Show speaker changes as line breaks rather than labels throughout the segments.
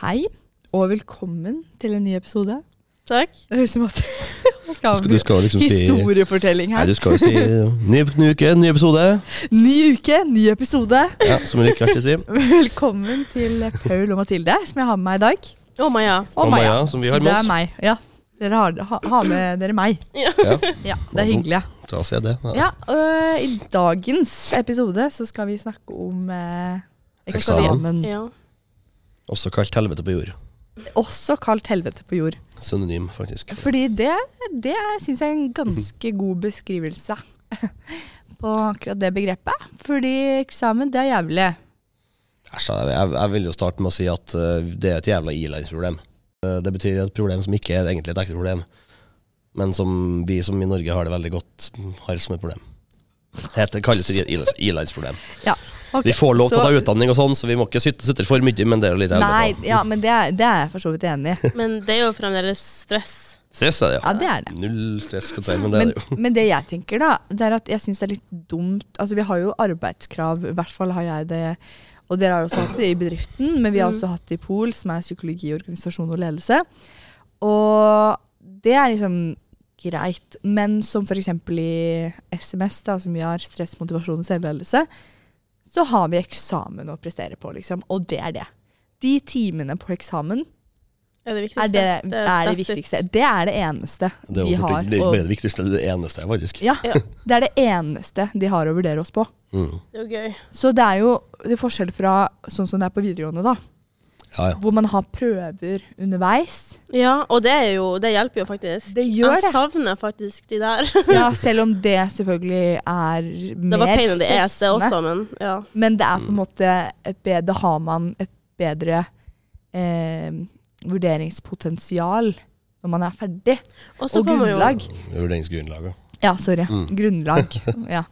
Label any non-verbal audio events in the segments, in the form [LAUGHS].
Hei, og velkommen til en ny episode.
Takk.
Det høres ut som at [LAUGHS] Hva skal
Skal, du
vi-
skal liksom si
Historiefortelling
Nei,
her.
du skal jo si ny, ny uke, ny episode.
Ny uke, ny episode. [LAUGHS]
Ja, som Rikke alltid sier.
Velkommen til Paul og Mathilde, som jeg har med meg i dag.
Å, Maja.
Og
Og
Maja.
som vi
Det
har med
er
oss.
meg. Ja, dere har, ha, har med dere meg.
Ja,
Ja, Det er hyggelig.
da ser jeg det. Ja.
Ja, øh, I dagens episode så skal vi snakke om eh,
Eksamen.
eksamen.
Ja.
Også kalt helvete på jord.
Også kalt helvete på jord.
Synonym, faktisk.
Fordi det, det syns jeg er en ganske god beskrivelse [LAUGHS] på akkurat det begrepet. Fordi eksamen, det er jævlig.
Æsj, Jeg, jeg, jeg vil jo starte med å si at eh, det er et jævla ilandsproblem. Eh, det betyr et problem som ikke er egentlig et ekte problem, men som vi som i Norge har det veldig godt, har som et problem. Det kalles et ilands- ilandsproblem.
Ja, ok,
Vi får lov til
så-
å ta utdanning og sånn, så vi må ikke sutte sutte for mye, men det er jo litt
Nei,
helvete.
ja, men det er, det er jeg for så vidt enig i.
Men det er jo fremdeles stress.
Stress er det,
Ja,
ja.
det er det.
Null stress, kan du si, men det er
Men,
det jo.
men det jeg tenker, da, det er at jeg syns det er litt dumt Altså, vi har jo arbeidskrav, i hvert fall har jeg det, og dere har jo også hatt det i bedriften, men vi
Mm.
har også hatt det i POL, som er psykologi, organisasjon og ledelse. Og det er liksom greit, men som f.eks. i SMS, da, som vi har stress, motivasjon og selvledelse, så har vi eksamen å prestere på, liksom. Og det er det. De timene på eksamen
Er det viktigste.
er det, er det
er- that's it.
viktigste. Det er det eneste
Det er
de
jo
har.
fort- det er
å-
bare det viktigste, det eneste, faktisk.
ja,
Ja.
det er det eneste de har å vurdere oss på.
Mm.
Det er jo gøy.
Så det er jo det er forskjell fra sånn som det er på videregående, da.
Ja, ja.
Hvor man har prøver underveis.
[LAUGHS] Ja, og det, er jo, det hjelper jo faktisk.
Det gjør det.
Jeg savner faktisk
[LAUGHS]
de der.
Ja, selv om det selvfølgelig er
Det
mer
var pain in the ass, det
stressende.
også, men ja.
Men det er på en måte et bedre Da har man et bedre eh, vurderingspotensial når man er ferdig.
Og så
Og
får man jo
grunnlag.
Vurderingsgrunnlaget.
Ja, sorry. Grunnlag. Ja.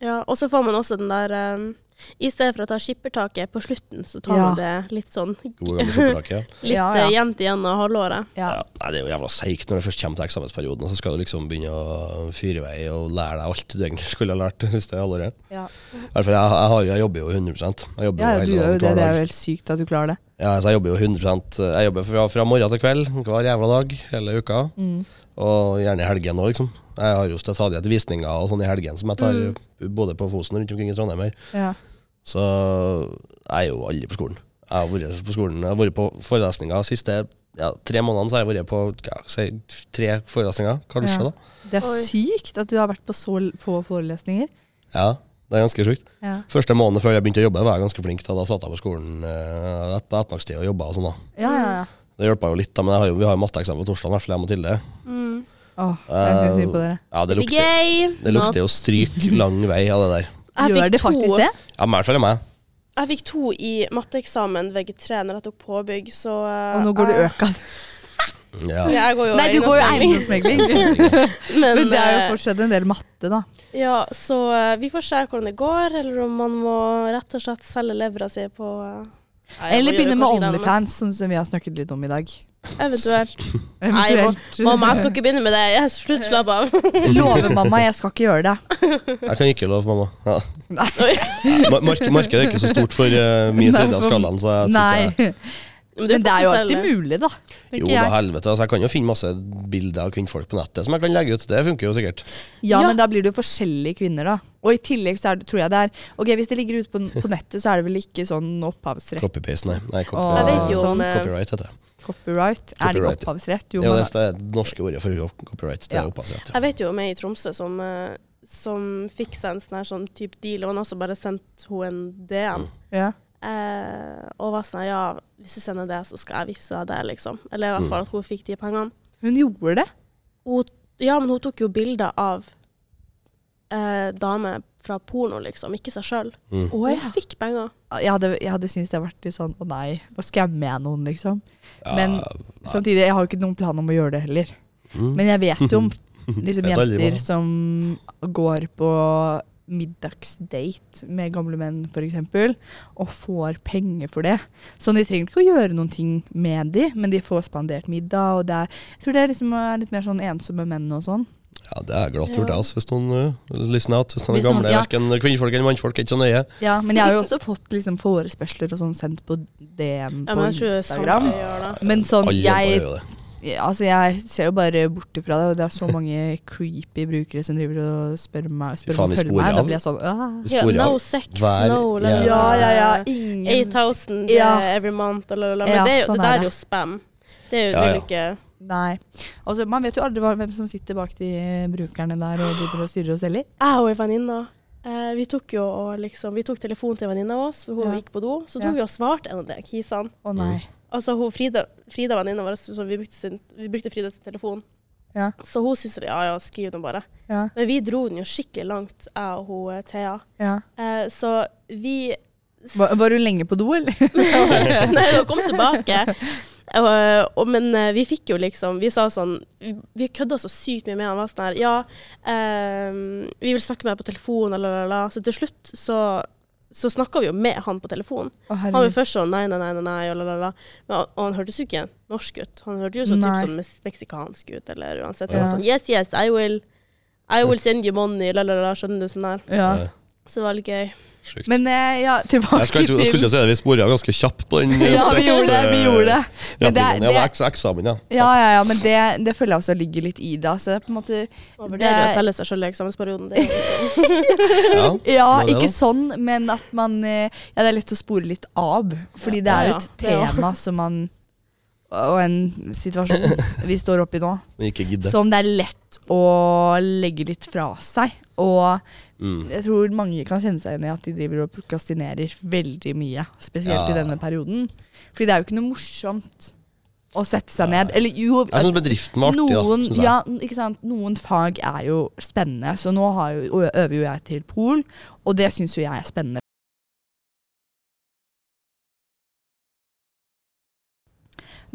Ja, og så får man også den der um, I stedet for å ta skippertaket på slutten, så tar
Ja.
man det litt sånn [LAUGHS]
Gode gamle
[LAUGHS]
sjokolake.
litt
Ja,
ja,
ja.
jevnt igjennom halvåret.
ja. [LAUGHS]
Ja, nei, det er jo jævla seigt når det først kommer til eksamensperioden, og så skal du liksom begynne å fyre i vei og lære deg alt du egentlig skulle ha lært [LAUGHS] det siste halvåret.
ja.
I hvert fall, jeg, jeg, har, jeg jobber jo 100 Jeg jobber
ja
jo
du
hele
gjør jo det.
dagen hver
Det er
dag.
jo helt sykt at du klarer det.
Ja, altså, jeg jobber jo 100 Jeg jobber fra, fra morgen til kveld hver jævla dag hele uka,
Mm.
og gjerne i helgen òg, liksom. Jeg har jo stadig etter visninger og sånn i helgen som jeg tar
Mm.
både på Fosen og rundt omkring i Trondheim her.
Ja.
Så jeg er jo aldri på skolen. Jeg har vært på skolen, jeg har vært på forelesninger de siste ja, tre månedene. Så har jeg vært på hva skal jeg si, tre forelesninger, kanskje.
Ja.
da.
Det er
Oi.
sykt at du har vært på så l- få forelesninger.
Ja, det er ganske sjukt.
Ja.
Første måneden før jeg begynte å jobbe, var jeg ganske flink. Da, da satt jeg på skolen eh, et- på ettermiddagstid og jobba og sånn. da.
Ja, ja, ja.
Det hjelpa jo litt, da, men jeg har jo, vi har jo matteeksamen på torsdag, i hvert fall jeg og Mathilde.
Åh, jeg syns synd på dere.
Ja, det
Det blir
lukter,
gøy!
det lukter jo stryk lang vei av det der.
Jeg fikk
Gjør det faktisk
to-
det?
Ja, men i hvert fall er meg.
Jeg fikk to i matteeksamen VG3 når jeg tok påbygg, så eh,
Og nå går du altså. øka.
Ja.
Ja, jeg går jo
Nei, du går jo
eiendomsmegling.
[LAUGHS]
eiendomsmegling.
[LAUGHS] Men,
Men det er jo
eh,
fortsatt en del matte, da.
Ja, så eh, vi får se hvordan det går, eller om man må rett og slett selge levra si på eh, nei, jeg må
Eller
gjøre
begynne med
kanskje ikke det, men
Onlyfans, sånn som vi har snakket litt om i dag.
Eventuelt. Nei,
[LAUGHS] Eventuelt.
mamma, jeg skal ikke begynne med det. Jeg slutt, slapp av. [LAUGHS]
[LAUGHS] Lover mamma, jeg skal ikke gjøre det.
Jeg kan ikke love mamma. Ja.
Oi.
Mar- Mark markedet er ikke så stort for eh, min
Nei,
side av
for-
skalaen, så jeg tror ikke jeg-
Nei.
Men
Men det er jo alltid
mulig.
mulig, da.
Jo
tenker
da,
jeg.
helvete. Altså, jeg kan jo finne masse bilder av kvinnfolk på nettet som jeg kan legge ut. Det funker jo sikkert.
Ja,
Ja.
men da blir det jo forskjellige kvinner, da. Og i tillegg så er det, tror jeg det er Ok, hvis det ligger ute på, på nettet, så er det vel ikke sånn opphavsrett,
Copy-paste, nei. nei copy,
Åh. Jeg vet
jo om, eh,
Copyright heter det.
copyright? Er det ikke
Copyright.
opphavsrett? Jo,
Jo, det
men
er det norske ordet for copyright. Det
Ja.
er opphavsrett. Ja.
Jeg vet jo om ei i Tromsø som, eh, som fikk seg en sånn her sånn type deal, og han også bare sendte henne en DM.
ja.
Eh, og var sånn ja, hvis du sender det, så skal jeg vippse deg det, liksom. Eller i hvert fall at hun fikk de pengene.
Hun gjorde det.
Hun, ja, men hun tok jo bilder av eh, damer fra porno, liksom. Ikke seg sjøl.
Mm.
Å
Hun
ja.
fikk penger.
jeg hadde, jeg hadde syntes det hadde vært litt sånn å nei, da skammer jeg noen, liksom. Men
nei.
samtidig, jeg har jo ikke noen plan om å gjøre det heller.
mm.
Men jeg vet
[LAUGHS]
jo om liksom,
Vet aldri
jenter
hva.
som går på middagsdate med gamle menn, f.eks., og får penger for det. Så de trenger ikke å gjøre noen ting med de, men de får spandert middag, og det er Jeg tror det er liksom er litt mer sånn ensomme menn og sånn.
Ja, det er glatt
Ja.
gjort, det, altså, hvis noen uh, listen out. Hvis noen
Hvis
er
noen-
gamle,
ja.
hverken kvinnfolk eller mannfolk, er ikke så nøye.
Ja, men jeg har jo også fått liksom, forespørsler og sånn sendt på DM
Ja,
på
men jeg tror sånn- det er sant
Instagram.
jeg gjør det.
Men sånn,
Alle
jeg,
jenter gjør jo det.
altså, jeg ser jo bare bort ifra det, og det er så mange creepy brukere som driver og spør meg spør
Fy faen,
om å
vi
følge
sporer
meg.
av.
Da blir jeg sånn «Ah».
Vi sporer
ja,
av.
no sex,
hver
no la, la,
jævla-
la, la, la.
Ingen
8000
Ja.
eh, every month la, la, la. Men
Ja,
det, er jo,
sånn er
det der
det.
er jo spam. Det er jo,
Ja,
det er
ja.
jo ikke
Nei. Altså, man vet jo aldri hva- hvem som sitter bak de eh, brukerne der og driver og styrer og selger.
jeg og ei venninne eh, vi tok jo og liksom, vi tok telefonen til en venninne av oss, for hun
Ja.
gikk på do. Så
Ja.
tok vi og svarte en av de kisene.
Å
Mm.
nei.
Altså hun, Frida, Frida venninna vår, så vi brukte, sin, vi brukte Fridas telefon.
Ja.
Så hun syntes ja, ja, skriv nå bare.
Ja,
Men vi dro den jo skikkelig langt, jeg og hun eh, Thea.
ja.
Eh, så vi
Var, var du lenge på do, eller?
[LAUGHS] Nei, hun kom tilbake. Og, og, men eh, vi fikk jo liksom Vi sa sånn Vi, vi kødda så sykt mye med han. Var sånn her Ja, ehm, vi vil snakke med deg på telefon, la, la, la. Så til slutt så, så snakka vi jo med han på telefon.
Å,
Han var
herregud.
jo først sånn nei, nei, nei, nei, nei og la, la, la. Men, han- og han hørtes jo ikke norsk ut. Han hørtes jo så typ
Nei.
sånn mes- meksikansk ut, eller uansett.
Ja.
Han var Sånn, yes, yes, I will I will send you money, la, la, la, skjønner du, sånn her.
Ja.
Eh,
Så det var litt gøy.
Sjukt.
Men eh, ja, tilbake
jeg, skal, ikke- jeg skulle til å si det, vi sporer av ganske kjapt på den. eh,
Ja, vi
sex,
gjorde det. vi
eh,
gjorde det. Men det,
Jabbingen,
det,
ja, eks- eksamen, ja.
ja, ja, ja, men det, det føler jeg også ligger litt i det. Altså, det er på en måte
Man
Det-
vurderer å selge seg sjøl i eksamensperioden. Det er jo-
ja.
[LAUGHS] Ja,
Hva er det
ikke
da?
sånn, men at man eh, Ja, det er lett å spore litt av. Fordi det er jo et
Ja, ja, ja.
tema som man Og en situasjon vi står oppi nå,
Men ikke gidde.
som det er lett å legge litt fra seg. Og
Mm.
jeg tror mange kan kjenne seg igjen i at de driver og prokastinerer veldig mye. Spesielt
Ja.
i denne perioden. Fordi det er jo ikke noe morsomt å sette seg ned. Eller jo
Jeg syns bedriften var artig, da.
noen,
Synes jeg.
ja, ikke sant? noen fag er jo spennende, så nå har jo, ø- øver jo jeg til pol, og det syns jo jeg er spennende.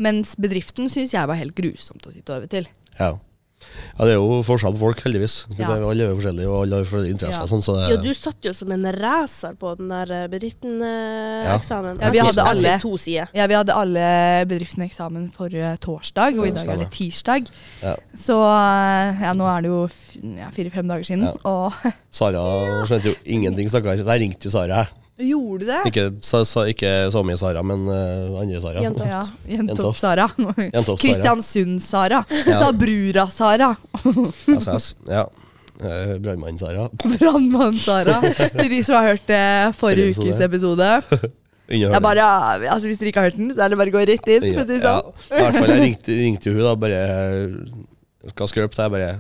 Mens bedriften syns jeg var helt grusomt å sitte og øve til.
Ja. ja, det er jo forskjell på folk, heldigvis. Skal vi
Ja.
si, Alle er jo forskjellige, og alle har forskjellige interesser.
Ja.
og Sånn, så det,
Ja, du satt jo som en racer på den der eh,
Ja.
bedriften-eksamen.
Ja, vi hadde alle.
to sider.
Ja, Vi hadde alle bedriftene eksamen forrige torsdag, og i
Ja,
dag er det
stemmer.
tirsdag.
Ja.
Så ja, nå er det jo f- ja, fire-fem dager siden,
Ja.
og [LAUGHS]
Sara skjønte jo ingenting, stakkar. Jeg ringte jo Sara. jeg.
Gjorde du det?
Ikke, sa, sa, ikke så mye Sara, men eh, andre Sara.
Jentoft.
Ja, [LAUGHS]
Jentoft.
Jentoft-Sara.
Jentoft, Sara.
Kristiansund-Sara.
[LAUGHS]
Sabrura-Sara.
SS. Ja. Eh, Brannmann Sara.
Brannmann-Sara. Til de som har hørt det forrige
Forrige
ukes episode. Det er
Innehører.
bare, altså Hvis dere ikke har hørt den, så er det bare å gå rett inn. For å si det
Ja,
sånn.
I hvert fall, jeg ringte, ringte jo hun da, bare Skal skrøpe deg, bare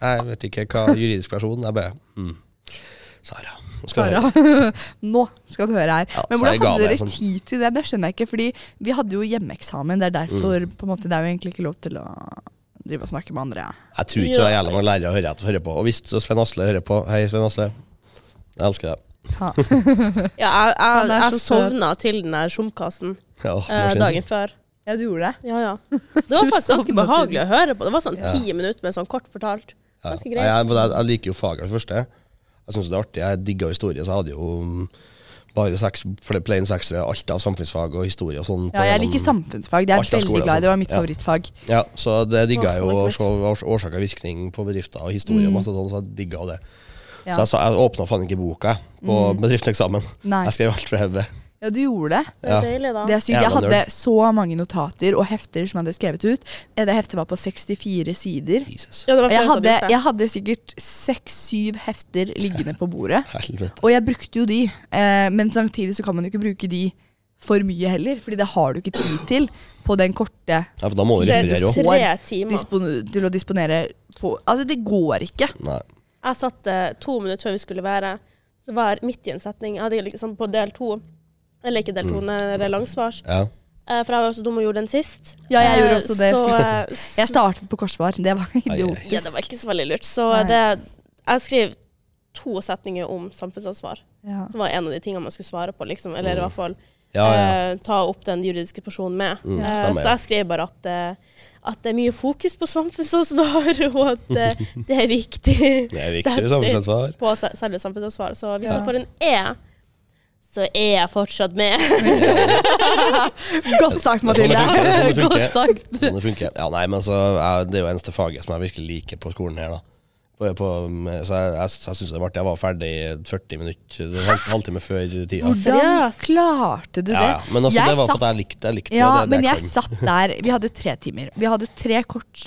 Jeg vet ikke hva juridisk person Jeg bare mm. Sara. nå skal jeg høre.
Sara. [LAUGHS] Nå skal du høre her.
Ja,
Men
så jeg
hvordan
ga
hadde
meg
dere
sånn.
tid til det? Det skjønner jeg ikke, fordi vi hadde jo hjemmeeksamen. Det er derfor
Mm.
på en måte, det er jo egentlig ikke lov til å drive og snakke med andre.
[LAUGHS] Jeg tror ikke så jævla mange lærere hører, hører på. Og hvis Sven Asle hører på Hei, Sven Asle. Jeg elsker deg.
Ta.
Ja, jeg, jeg,
Han er
jeg
så søt.
sovna til den der sjumkassen
Ja,
eh,
maskin.
dagen før.
Ja, du gjorde det?
Ja,
[LAUGHS]
ja. Det var faktisk
sovna til
ganske behagelig å høre på. Det var sånn
Ja.
ti minutter med sånn kort fortalt.
Ja.
Ganske
Nei, Jeg,
greit.
men jeg, jeg liker jo faget, for det første. Jeg syns det er artig. Jeg digga historie, så jeg hadde jo mm, bare seks, pl- plain seksere, alt av samfunnsfag og historie og sånn. på
Ja, jeg
gjennom-
liker samfunnsfag. Det er
Alt av
jeg
skole,
veldig glad i. Det var mitt
altså. Ja.
favorittfag.
Ja, så det digga jeg jo.
Åh,
å
det
se
var
års- Årsak og virkning på bedrifter og historie og masse sånn, så jeg digga det.
Mm. Ja. Mm.
Så jeg, sa- jeg åpna faen ikke boka jeg, på bedriftseksamen.
Nei.
Jeg skrev alt fra hodet.
Ja, du gjorde det.
Det
Ja.
er deilig, da.
Det er sykt. Jeg
Jævla
hadde
nerd.
så mange notater og hefter som jeg hadde skrevet ut. Eh, Det heftet var på 64 sider.
Jesus.
Ja, det var
Og Jeg
flere som
hadde,
brukte.
jeg hadde sikkert seks-syv hefter liggende på bordet.
Helvete.
Og jeg brukte jo de, eh, men samtidig så kan man jo ikke bruke de for mye heller. Fordi det har du ikke tid til på den korte
Ja, for da må du
Det
referere
er
òg.
tre timer.
dispon til å disponere på Altså, det går ikke.
Nei.
Jeg satt eh, to minutter før vi skulle være, så var jeg midt i en setning. Jeg hadde liksom på del to, eller ikke del to, det er langsvars.
Ja.
Eh, For jeg var jo så dum og gjorde den sist.
Ja, jeg
Eh,
gjorde også det
så,
sist.
eh,
Jeg startet på korsvar. Det var
ai.
idiotisk.
Ja, det var ikke så veldig lurt. Så
Nei.
det, jeg skrev to setninger om samfunnsansvar,
Ja.
som var en av de tingene man skulle svare på, liksom. Eller i hvert fall
Ja, ja.
eh, ta opp den juridiske personen med.
Mm,
Eh,
stemmer,
så
ja.
jeg skrev bare at, eh, at det er mye fokus på samfunnsansvar, [LAUGHS] og at eh, det er viktig.
[LAUGHS] Det er viktig
That's it
samfunnsansvar.
På se- selve samfunnsansvar. Så hvis
Ja.
du får en E, så er jeg fortsatt med. [LAUGHS]
Godt sagt,
Det er sånn det
Mathilde.
funker, det er sånn det
Godt sagt.
Sånn det funker. Ja, nei, men så er, Det er jo eneste faget som jeg virkelig liker på skolen her, da. På, på, så jeg, jeg, jeg syns det var artig. Jeg var ferdig 40 minutter, en halv, halvtime før tida.
Hvordan
Seriøst?
klarte du det?
Ja, ja. Men altså,
Jeg
det var
satt-
for at jeg likte jeg likte det.
Ja,
det, det
men
er
jeg
kvalm.
satt der Vi hadde tre timer. Vi hadde tre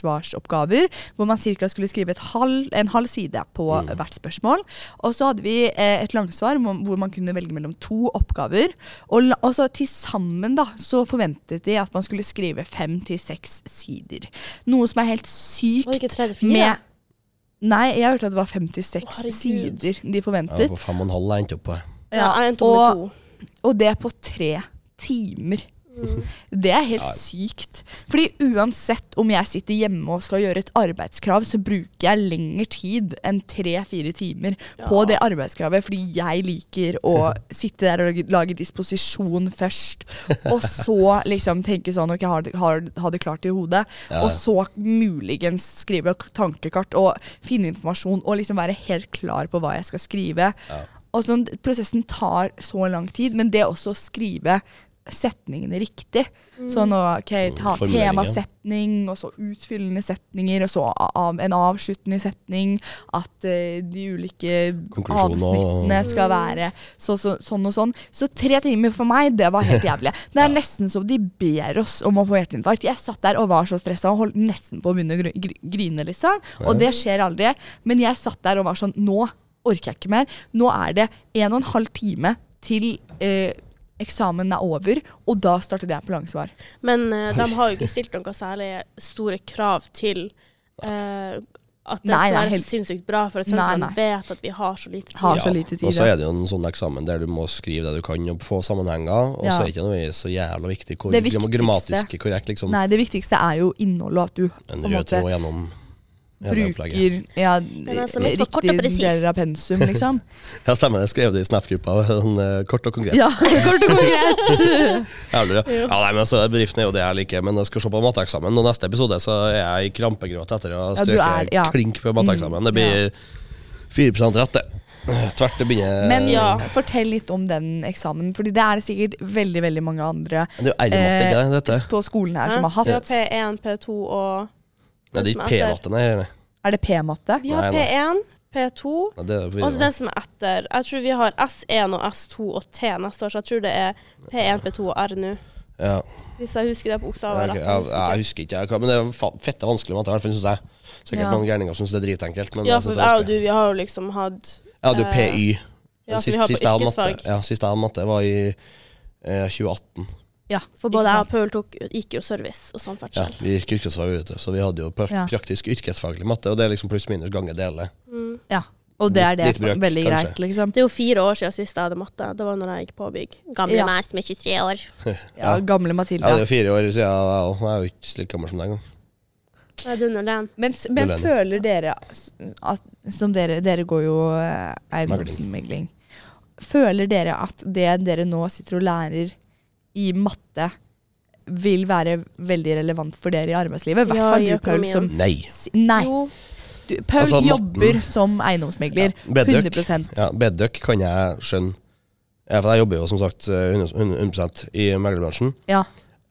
kortsvarsoppgaver hvor man cirka skulle skrive et halv, en halv side på
Mm.
hvert spørsmål. Og så hadde vi eh, et langsvar hvor hvor man kunne velge mellom to oppgaver. Og, la- og så til sammen da, så forventet de at man skulle skrive fem til seks sider. Noe som er helt
Var det ikke
sykt
tre til fire?
med Nei, jeg hørte at det var fem til
Å,
seks
herregud.
sider de
Jeg var
forventet.
på fem og en halv jeg endte opp på.
Ja, jeg endte opp
og
med to.
og det på tre timer. Det er helt sykt. Fordi uansett om jeg sitter hjemme og skal gjøre et arbeidskrav, så bruker jeg lengre tid enn tre-fire timer på det arbeidskravet, fordi jeg liker å sitte der og lage- lage disposisjon først, og så liksom tenke sånn Ok, har, det- har, har det klart i hodet?
Ja.
Og så muligens skrive tankekart og finne informasjon og liksom være helt klar på hva jeg skal skrive. Og sånn, prosessen tar så lang tid, men det også å skrive setningene riktig. Sånn ok, ta
formuleringer.
temasetning, og så utfyllende setninger, og så a- av, en avsluttende setning. At eh, de ulike
Konklusjoner og-
avsnittene skal være så, så, sånn og sånn. Så tre timer for meg, det var helt jævlig. Det er nesten som de ber oss om å få hjerteinfarkt. Jeg satt der og var så stressa og holdt nesten på å begynne å gr- gr- grine, liksom. Og det skjer aldri. Men jeg satt der og var sånn Nå orker jeg ikke mer. Nå er det en og en halv time til eh, eksamen er over, og da startet jeg på langsvar.
Men eh, de har jo ikke stilt noen særlig store krav til eh, at det
Nei, nei,
skal være
helt-
sinnssykt bra, for at
Nei,
sensene
nei.
vet at vi har så lite tid.
Har så lite tid.
Og så
ja.
er det jo en sånn eksamen der du må skrive det du kan og få sammenhenger, og
Ja.
så er det ikke noe så jævla viktig hvor
Det
gramm-
viktigste.
grammatisk korrekt, liksom.
Nei, det viktigste er jo innholdet, og at du på
En
en
rød
måte
tråd gjennom hele opplegget.
bruker ja,
er så litt for kort og
riktige
presist.
deler av pensum,
[LAUGHS]
liksom.
Ja, stemmer det. Jeg skrev det i Snap-gruppa. [LAUGHS] en, eh, Kort og konkret.
ja, kort og konkret.
Jævlig, ja. ja, nei, men altså, Bedriften er jo det jeg liker, men jeg skal se på matteeksamen. Og neste episode så er jeg i krampegråt etter å ha
Ja, du
strøket
er- ja. Mm,
klink på matteeksamen. Det blir 4 rett, det. Tvert det begynner
Men
Ja.
fortell litt om den eksamen, Fordi det er det sikkert veldig veldig mange andre eh,
Det er jo R-matte, ikke det? Dette.
på skolen her som har
Vi
hatt.
har P1, P2 og
Nei, det er
som
ikke
er
P-matte, nei. nei.
Er det P-matte?
Vi har
Nei, nei.
P1, P2
Nei, Det er på
og så den
videregående.
Altså, som er etter. Jeg tror vi har S1 og S2 og T neste år, så jeg tror det er P1, P2 og R nå.
Ja.
Hvis jeg husker det på oksaver.
Jeg, jeg,
latter,
jeg,
husker ikke.
husker ikke, jeg, hva- men det er fa- fette vanskelig matte, i hvert fall syns jeg. Sikkert
Ja.
mange gærninger syns det er dritenkelt, men altså,
Ja,
jeg
for
syns det er
jeg og du,
vanskelig.
vi har jo liksom hatt
Jeg hadde jo
eh,
PY.
ja, så vi
Sist,
har på
sist jeg hadde matte,
yrkesfag.
ja, sist jeg hadde matte var i eh, 2018.
Ja,
For både jeg og Paul tok, gikk jo service og sånn
Ja,
samferdsel.
vi gikk yrkesfag ute, så vi hadde jo pra
Ja.
praktisk yrkesfaglig matte, og det er liksom pluss minus ganger dele.
Ja, og det er det
Litt- litt brøk,
veldig
kanskje.
greit, liksom.
Det er jo fire år siden sist jeg hadde matte. Det var når jeg gikk på bygg. Gamle
Ja.
meg som er 23 år.
Ja, gamle
Ja, det er
Mathilde.
jo fire år siden, jeg og- jeg er jo ikke slik gammel som deg engang.
Nei, du er under den.
Men, s- men
Null enig.
føler dere s- at Som dere, dere går jo eh, eiendomsmegling. Føler dere at det dere nå sitter og lærer i matte, vil være veldig relevant for dere i arbeidslivet? I hvert
Ja,
fall
i
du, Paul,
økonomien.
som
Nei.
s- Nei.
Jo,
Du, Paul
Altså, matten-
jobber som eiendomsmegler.
Bedøk.
100
Ja, Bedøk kan jeg skjønne. Ja, for jeg jobber jo som sagt eh, 100 100 i meglerbransjen.
Ja.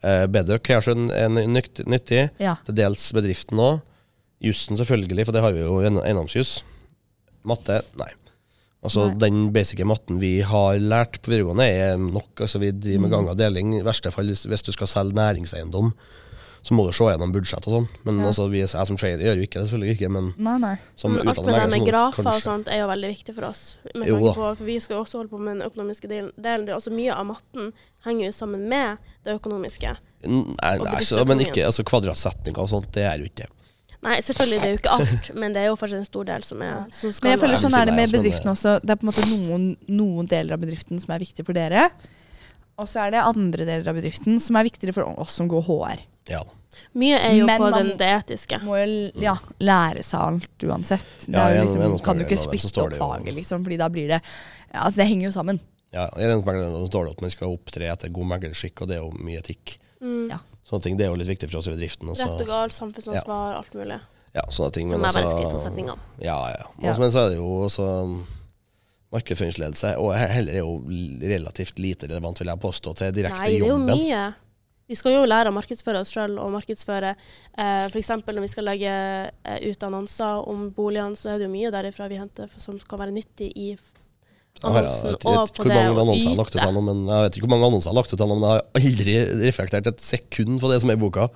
Eh, Bedøk kan jeg skjønne er ny- nytt- nyttig,
ja.
til dels bedriften òg. Jussen selvfølgelig, for det har vi jo i eiendom- eiendomsjus. Matte, nei. Altså
Nei.
Den basice matten vi har lært på videregående, er nok. altså Vi driver
Mm.
med gang og deling. I verste fall, hvis- hvis du skal selge næringseiendom, så må du se gjennom budsjett og sånn. Men
Ja.
altså, vi, jeg som trader gjør jo ikke det, selvfølgelig ikke. Men
Nei, nei.
som
men alt med
utdannet
det
megler så må
med
du
grafer og sånn.
kanskje-
sånt er jo veldig viktig for oss. Med
Jo
tanke
da.
på, for Vi skal jo også holde på med den økonomiske delen. delen. Det er også Mye av matten henger jo sammen med det økonomiske.
Nei,
Og
nei
bedriftsøkonomien.
så, men ikke altså, kvadratsetninger og sånt, det er jo ikke det.
Nei, selvfølgelig, det er jo ikke alt, men det er jo fortsatt en stor del som, er, som skal
Men jeg føler
være
sånn er det med
Nei, altså, men-
bedriften også. Det er på en måte noen, noen deler av bedriften som er viktige for dere. Og så er det andre deler av bedriften som er viktigere for oss som går HR.
Ja. da.
Mye er jo
Men
på
man-
den, det etiske.
Må jo l- ja, lære seg alt uansett. Det
Mm. Ja,
er jo
gjennom-
liksom,
gjennom
kan jo ikke
skoleloven så
splitte
står
opp
det jo-
faget, liksom, fordi da blir det ja, Altså, det henger jo sammen.
Ja, I eiendomsmeglingen står det at man skal opptre etter god meglerskikk, og det er jo mye etikk.
Ja.
Sånne ting, Det er jo litt viktig for oss i bedriften. og så-
Rett og galt, samfunnsansvar, alt mulig.
Ja, sånne ting.
Som
men
er
Altså, altså-
vanskelig i to setninger.
Ja, ja.
Ja.
Men så- Men så er det jo også um, markedsføringsledelse, og he- heller er jo l- relativt lite relevant, vil jeg påstå, til direkte
Nei, det er jo
jobben.
mye. Vi skal jo lære å markedsføre oss sjøl og markedsføre eh, f.eks. når vi skal legge eh, ut annonser om boligene, så er det jo mye derifra vi henter f- som kan være nyttig i f-
Jeg har- jeg
annonsen
vet- jeg vet
og
ikke
på det
hvor mange
å
annonser jeg har lagt ut
yte.
av noe, men jeg vet ikke hvor mange annonser jeg har lagt ut av noe, men jeg har aldri reflektert et sekund på det som er i boka.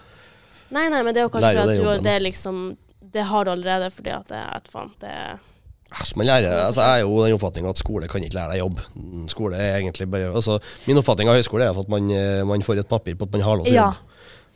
Nei, nei, men det er jo kanskje
Lærer
fordi
det
at du har
jobben.
det er liksom Det har du allerede fordi at det at faen, det er
Æsj, man lærer, altså Jeg er jo den oppfatninga at skole kan ikke lære deg jobb. Mm, Skole er egentlig bare altså, Min oppfatning av høyskole er at man, eh, man får et papir på at man har lov til å
Ja.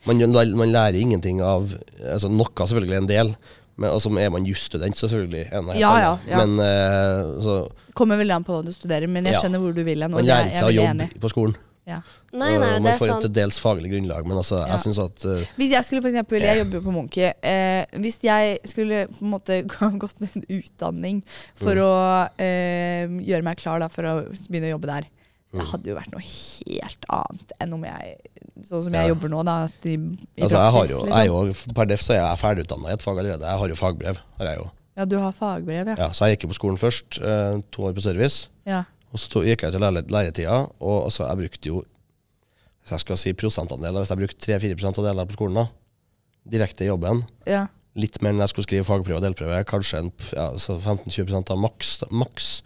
jobbe. Man, man lærer ingenting av altså Noe selvfølgelig en del, men altså, er man jusstudent, så selvfølgelig. er det helt
Ja,
annet.
ja, ja.
Men eh, så,
Kommer veldig an på hva du studerer, men jeg
Ja.
skjønner hvor du vil hen. og
man
jeg-
lærer
jeg
ikke seg
er
å
veldig
jobbe
enig.
på skolen.
Ja.
Nei,
Og
nei, det
man
er
får et
sant.
til dels faglig grunnlag, men altså,
Ja.
jeg syns at eh,
Hvis jeg skulle for eksempel, jeg
Ja.
jobber jo på Monkey, eh, hvis jeg skulle på en måte [LAUGHS] gå- gått en utdanning for
Mm.
å eh, gjøre meg klar da, for å begynne å jobbe der, det
Mm.
hadde jo vært noe helt annet enn om jeg, sånn som jeg
Ja.
jobber nå da, at i, i
altså, jeg har
praksis,
jo,
liksom.
jeg er jo, Per def så er jeg ferdigutdanna i et fag allerede. Jeg har jo fagbrev. Har jeg jo.
Ja, du har fagbrev, ja.
Ja, så jeg gikk jo på skolen først, eh, to år på service.
ja.
Og så to- gikk jeg til lære- læretida, og altså, jeg brukte jo Hvis jeg skal si prosentandeler, hvis jeg brukte 3-4 av delene på skolen, da, direkte i jobben,
ja.
litt mer enn jeg skulle skrive fagprøve og delprøve, kanskje en, p- ja, altså 15-20 av maks, maks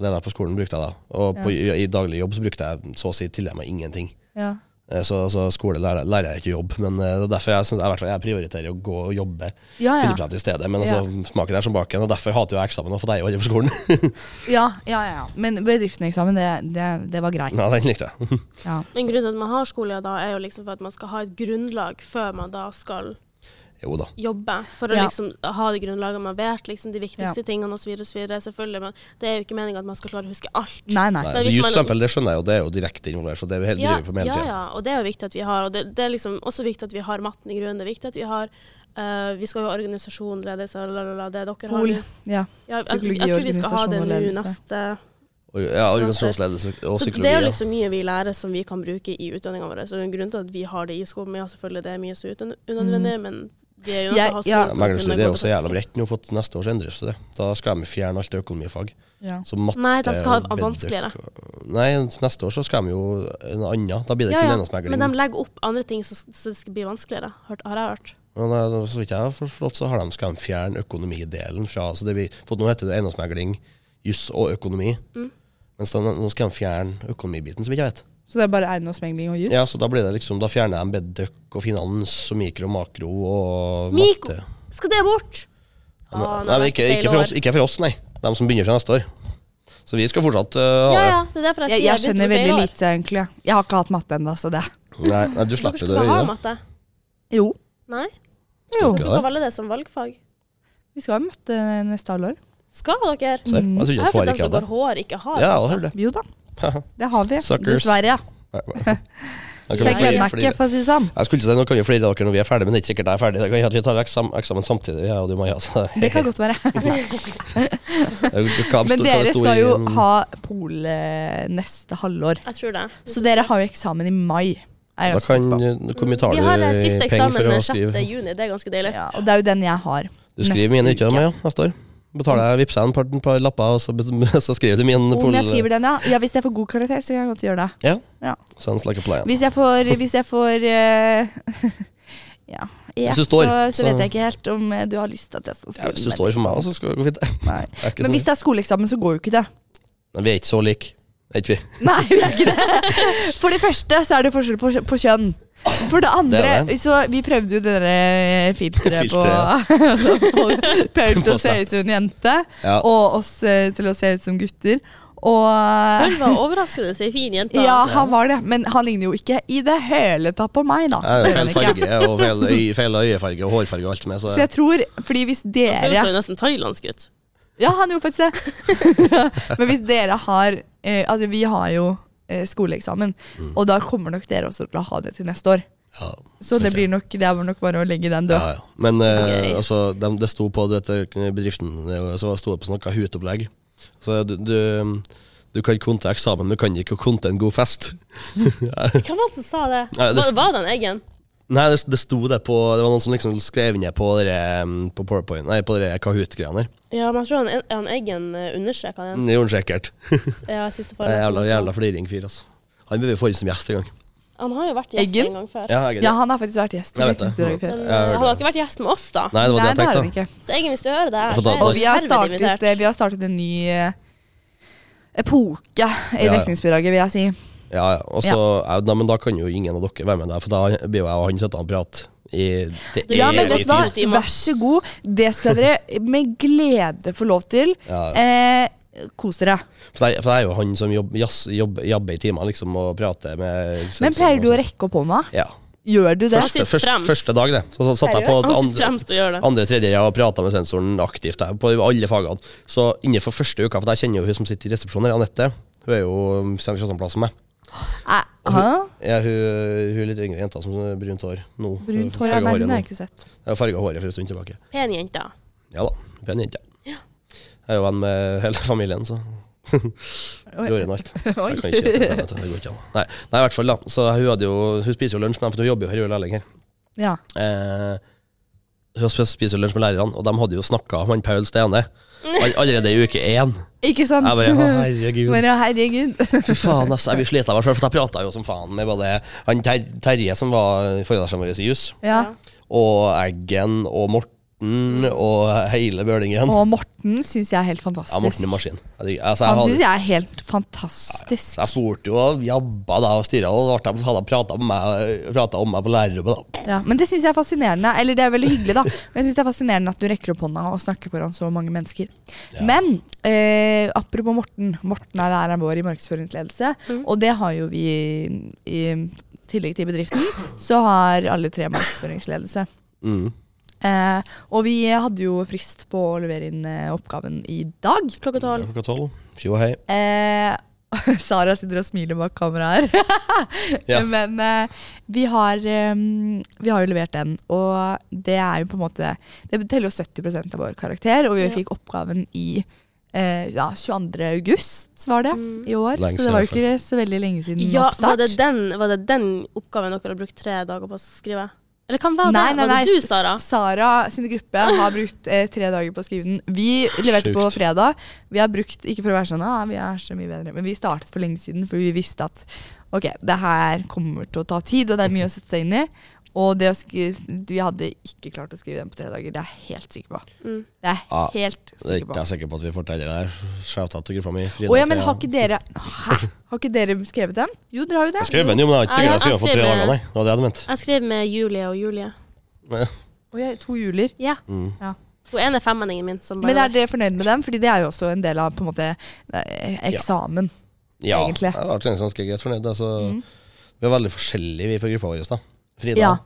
av delene på skolen brukte jeg da. Og på, i, i daglig jobb så brukte jeg så å si tilnærma ingenting.
ja.
Eh, Så, så skole lærer, lærer jeg ikke jobb, men eh, det er derfor jeg, synes, jeg, i hvert fall- jeg prioriterer å gå og jobbe
Ja, ja.
100 i stedet. Men altså, smaken er som baken, og derfor hater jo jeg eksamen og for deg å gjøre på skolen. [LAUGHS]
Ja, ja, ja. Men bedrifteneksamen, det, det, det var greit.
ja, den likte jeg. [LAUGHS]
Ja.
Men grunnen til at man har skole da, er jo liksom for at man skal ha et grunnlag før man da skal
Jo da.
jobbe. For å
Ja.
liksom ha det grunnlaget man vet, liksom de viktigste
Ja.
tingene osv. Selvfølgelig. Men det er jo ikke meninga at man skal klare å huske alt.
Nei, nei.
Nei,
Men
altså,
hvis
just
man-
stempel, det skjønner jeg jo, det er jo direkte involvert. Så det er jo hele,
Ja,
driver vi på med
ja,
hele tiden.
ja, og det er jo viktig at vi har. Og det, det er liksom også viktig at vi har matten i grunnen. Det er viktig at vi har eh, Vi skal jo ha organisasjon, ledelse, la, la, la, det dere har.
Pol.
nå.
Ja.
Ja, jeg, jeg,
Psykologi,
tror vi skal ha
organisasjon
det
og
nå
ledelse.
neste
Og, ja organisasjonsledelse og
Så
psykologi.
det er
ja.
jo liksom mye vi lærer som vi kan bruke i utdanninga vår. Så det er en grunn til at vi har det i skolen. Men ja, selvfølgelig det er mye som er uten- unødvendig, men vi er jo nødt til
Jeg-
å ha
ja.
skolen.
Mm. Ja,
for å kunne gå
Meglerstudiet er
til
jo så jævla
praksis.
bredt nå, for at neste år så endres det. Da skal de fjerne alt økonomifag.
Ja.
Så matte
Nei, de skal ha
bedre-
vanskeligere.
Nei, neste år så skal de jo en annen. Da blir det
Ja,
ikke
ja.
kun eiendomsmegling.
Men de legger opp andre ting så, så det skal bli vanskeligere, hørt, har jeg hørt.
Men eh, så vidt jeg har forstått, så har de, skal de fjerne økonomidelen fra altså det blir, For nå heter det eiendomsmegling, juss og økonomi.
Mm.
Mens da, nå skal de fjerne økonomibiten, som jeg ikke vet.
Så det er bare eiendomsmegling og juss?
Ja, så da blir det liksom, da fjerner de bedøk og finans og mikro og makro og
Mikro!
matte.
Skal det bort? Ah,
Nei, nei,
nå er
men
det
ikke,
feil
ikke, for
år.
oss, ikke for oss, nei. De som begynner fra neste år. Så vi skal fortsatt eh, ha
Ja,
det.
ja. Det er derfor jeg
Jeg,
sier
jeg
begynte
skjønner
på feil
veldig
år.
lite, egentlig. Jeg har ikke hatt matte ennå, så det
Nei, nei, du
Hvorfor
slipper
skal
det.
du ha
Røyne.
matte?
Jo.
Nei,
Jo.
du kan velge det som valgfag.
Vi skal ha matte eh, neste halvår.
Skal dere?
Se, jeg trodde
Jeg har
at
hørt at
Hårek
de som
hadde
går hår, ikke har
Ja, jeg
matte.
hører det.
Jo da, det har vi.
Suckers.
Dessverre, ja.
Jeg
Så jeg
kan jo
gleder
flire-
meg ikke,
flire-
for å si det sånn.
Jeg skulle ikke si nå kan jo flere av dere når vi er ferdig, men det er ikke sikkert jeg er ferdig. Det kan jo at vi tar eksam, eksamen samtidig, jeg og du, Maja. Så,
Det
[LAUGHS]
kan godt være.
Jeg kan-
Men
kan
dere
stå
skal
i
jo
en-
ha pol eh, neste halvår.
Jeg tror det.
Så dere har jo eksamen i mai. Er jeg
da
ganske
kan,
sikker på.
Hvor mye tar
Vi har eh,
du i
siste
penger for
eksamen
å
6.
skrive?
juni, det er ganske deilig.
Ja, og det er jo den jeg har.
Du skriver mine, ikke Maja, neste år? Betaler jeg vippsa en par, par lapper, og så, [LAUGHS] så skriver du min
Om jeg skriver den, ja. ja. Hvis jeg får god karakter, så kan jeg godt gjøre det.
Ja.
Ja.
Sounds like a plan.
Hvis jeg får, hvis jeg får eh, [LAUGHS] Ja. e
Hvis du
ett,
står,
så, så
så-
vet jeg ikke helt om eh, du har lyst til at jeg skal skrive
Ja, hvis
den
du står for meg, også, så skal det gå fint. [LAUGHS]
eller- Nei.
Jeg er ikke
Men
sånn-
hvis det er skoleeksamen, så går jo ikke
[LAUGHS]
det.
Nei, Vi er ikke så like. Er ikke vi?
Nei, vi er ikke det. For det første så er det forskjell på, på kjønn. For det andre,
Det er det.
så vi prøvde jo det der eh,
[LAUGHS]
filteret på [LAUGHS] Folk prøvde å se ut som en jente,
Ja.
og oss eh, til å se ut som gutter.
[LAUGHS]
Og
Hun var overraskende så fin jente.
ja, han var det, men han ligner jo ikke i det hele tatt på meg, da.
Jeg
Det
er
gjør
feil
han ikke.
farge og feil, øy, feil øyefarge og hårfarge og alt som er. Så
Så jeg tror, fordi hvis
Hun
dere
så jo nesten thailandsk ut.
Ja, han gjorde
[LAUGHS]
faktisk det. Men hvis dere har eh, Altså, vi har jo eh, skoleeksamen,
Mm.
og da kommer nok dere også til å ha det til neste år.
ja,
Så det blir nok, det er nok bare å legge den
ja,
død.
ja. Men eh,
Ok.
altså, de, det sto på dette bedriften eh, Så sto det på sånn noe hutopplegg. Så du, du, du kan konte eksamen, men du kan ikke konte en god fest.
Hvem var det som sa det?
Nei, det-
Var, var det en egen?
Nei, det, det sto det på Det var noen som liksom skrev ned på det der, um, På PowerPoint Nei, på det der Kahoot-greiene der.
Ja, men jeg tror han, han Eggen eh, understreket den.
Det gjorde han sikkert.
Ja, siste
[LAUGHS] Det er
foredrag.
Jævla, jævla fliring fyr, altså. Han bør vi få inn som gjest en gang.
Han har jo vært gjest
Eggen?
en gang før.
Ja, jeg,
Ja, han har faktisk vært gjest i
Jeg vet det.
Viktingsbidraget før.
Men
jeg hørte
eh, han har
det.
ikke vært gjest med oss, da.
Nei, det var det
Nei,
jeg
det har han
tenkte.
ikke.
Så Eggen, hvis du hører det her,
Jeg
så
får ta
er
det.
Og
du
vi har
herved
startet,
invitert.
eh, vi har startet en ny eh, epoke i
ja.
Dekningsbidraget, vil jeg si.
Ja, ja. Og så, ja. Nei, men da kan jo ingen av dere være med der, for da blir jo jeg og han sittende og prate i det
Ja,
er
men
litt
vet du hva?
tid.
timer.
Vær så god. Det skal dere med glede få lov til.
Ja.
Eh, kos dere.
For det, er- for det er jo han som jobber, jass, jobber, jobber i timene, liksom, og prater med
Men pleier
sånn.
du å rekke opp hånda?
Ja.
Gjør du det?
Han
Første,
sitter
første,
fremst.
første dag, det. Så, så satt jeg på
Seriøst?
Han sitter
andre,
fremst og gjør det.
andre tredje jeg har prata med sensoren aktivt jeg, på alle fagene. Så innenfor første uka, for jeg kjenner jo hun som sitter i resepsjonen, her, Anette. Hun er jo um, samme plass som meg.
Eh, hæ?
Ja, hun, hun er litt yngre jenta som har brunt hår nå.
Brunt hår? ja. Nei, hun har
Farget Mm. håret nå.
jeg ikke sett.
Jeg har farga håret for en stund tilbake.
Pen jente.
Ja da, pen jente. Jeg er jo venn med hele familien, så
Oi.
gjorde hun alt. Så
Oi.
jeg kan ikke gjøre det, det går ikke an. Nei, nei, i hvert fall, da. Så hun, hadde jo, hun spiser jo lunsj med dem, for hun jobber jo her i Rød Lærling her.
Ja.
Eh, hun sp- spiser jo lunsj med lærerne, og de hadde jo snakka om han Paul Stene all- allerede i uke én.
Ikke sant?
Jeg bare, å herregud.
Men ja, herregud.
Fy faen, altså. Jeg blir sliten av meg sjøl, for jeg prata jo som faen med både han ter Terje, som var foredragslederen vår i Jus.
Ja.
og Eggen og Morten og hele bølingen.
Og Morten syns jeg er helt fantastisk.
Ja, Morten i maskin. Jeg digger- Altså, jeg,
Han syns
hadde,
jeg er helt fantastisk.
jeg spurte jo og jabba da og styra, og da ble de prata om meg, pratet om meg på lærerrommet. da.
Ja, men det syns jeg er fascinerende. Eller det er veldig hyggelig, da. Men jeg synes det er fascinerende at du rekker opp hånda og snakker foran så mange mennesker. Men eh, apropos Morten. Morten er læreren vår i markedsføringsledelse. Og det har jo vi i tillegg til bedriften, så har alle tre markedsføringsledelse.
Mm.
Eh, og vi hadde jo frist på å levere inn eh, oppgaven i dag.
Klokka
Det er
tolv.
Klokka tolv. Tjo og hei.
Eh, [LAUGHS] Sara sitter og smiler bak kamera her. [LAUGHS]
Ja.
Men eh, vi, har, eh, vi har jo levert den, og det er jo på en måte Det teller jo 70 av vår karakter, og vi
Ja.
fikk oppgaven i eh, ja, 22. august var det i år,
Lenge
så det var jo
siden,
ikke så veldig lenge siden
Mm. Ja, var
oppstart.
det, den, var det den oppgaven dere har brukt tre dager på å skrive? Eller hvem var det?
Nei, nei,
var det
nei,
du,
s-
Sara?
Sara sin gruppe har brukt eh, tre dager på å skrive den. Vi leverte på
Sjukt.
fredag. Vi har brukt, ikke for å være sånn, ah, vi er så mye bedre, men vi startet for lenge siden, for vi visste at ok, det her kommer til å ta tid, og det er mye å sette seg inn i. Og det å skrive, vi hadde ikke klart å skrive den på tre dager, det er jeg helt sikker på.
Mm.
Det er
Ja,
jeg helt
Ah, Det
sikker
er ikke
på.
jeg sikker på at vi får til det der. Shout-out til gruppa mi. Frida
Å ja, men
Thea.
har ikke dere Hæ? Har ikke dere skrevet den? Jo, dere har jo det.
Jeg skrev den jo, men jeg er ikke sikker jeg skrev den for tre
Jeg skrev-
dager, nei. Det var det jeg hadde ment.
Jeg skrev med Julie og Julie.
Nei.
Å ja, to juler.
Ja.
Mm.
Hun ene er femmenningen min. Som
Men
bare-
er dere fornøyd med den? Fordi det er jo også en del av på en måte eh, eksamen.
Ja,
Egentlig. Mm.
jeg var egentlig ganske greit fornøyd. Altså, Vi er veldig forskjellige vi på gruppa vår. da. Frida
Ja.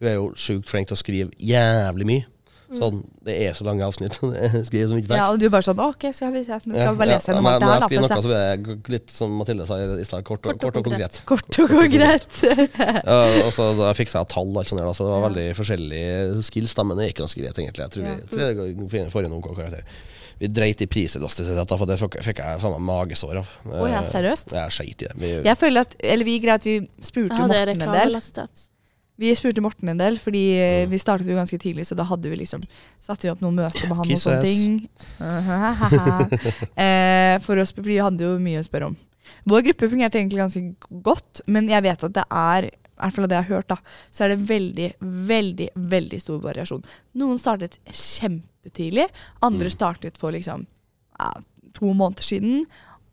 hun er jo sjukt flink til å skrive jævlig mye. Sånn, Det er så lange avsnitt. [LAUGHS] skriver så mye tekst.
Mm. Ja, og du er bare sånn «Å, Ok, skal vi se. Nå skal vi bare
Ja,
lese gjennom
men
alt det
Når
her.
jeg
da, for
skriver
at
noe, så er det litt som Mathilde sa i stad, kort, og- kort og konkret.
det- [LAUGHS] Kort og
[LAUGHS]
konkret.
Ja, og så da fiksa jeg tall, og alt sånt, der, da, så det var veldig forskjellige skills, da, men det gikk ganske greit, egentlig. Jeg tror vi tror jeg går- får en OK karakter. Vi dreit i priselastisitet, da, for det fikk fikk jeg faen meg magesår av.
Å ja, seriøst?
Jeg skeit i det. Vi,
Jeg føler at, eller vi greier at vi
Jeg
spurte
hadde
Morten en del.
reklameelasitet.
Vi spurte Morten en del, fordi eh, vi startet jo ganske tidlig, så da hadde vi liksom satte vi opp noen møter med han og
Kiss
sånne
ass.
ting.
[LAUGHS]
[LAUGHS] eh, for oss, fordi vi hadde jo mye å spørre om. Vår gruppe fungerte egentlig ganske godt, men jeg vet at det er i hvert fall av det jeg har hørt, da, så er det veldig, veldig veldig stor variasjon. Noen startet kjempetidlig, andre
Mm.
startet for liksom ja, to måneder siden.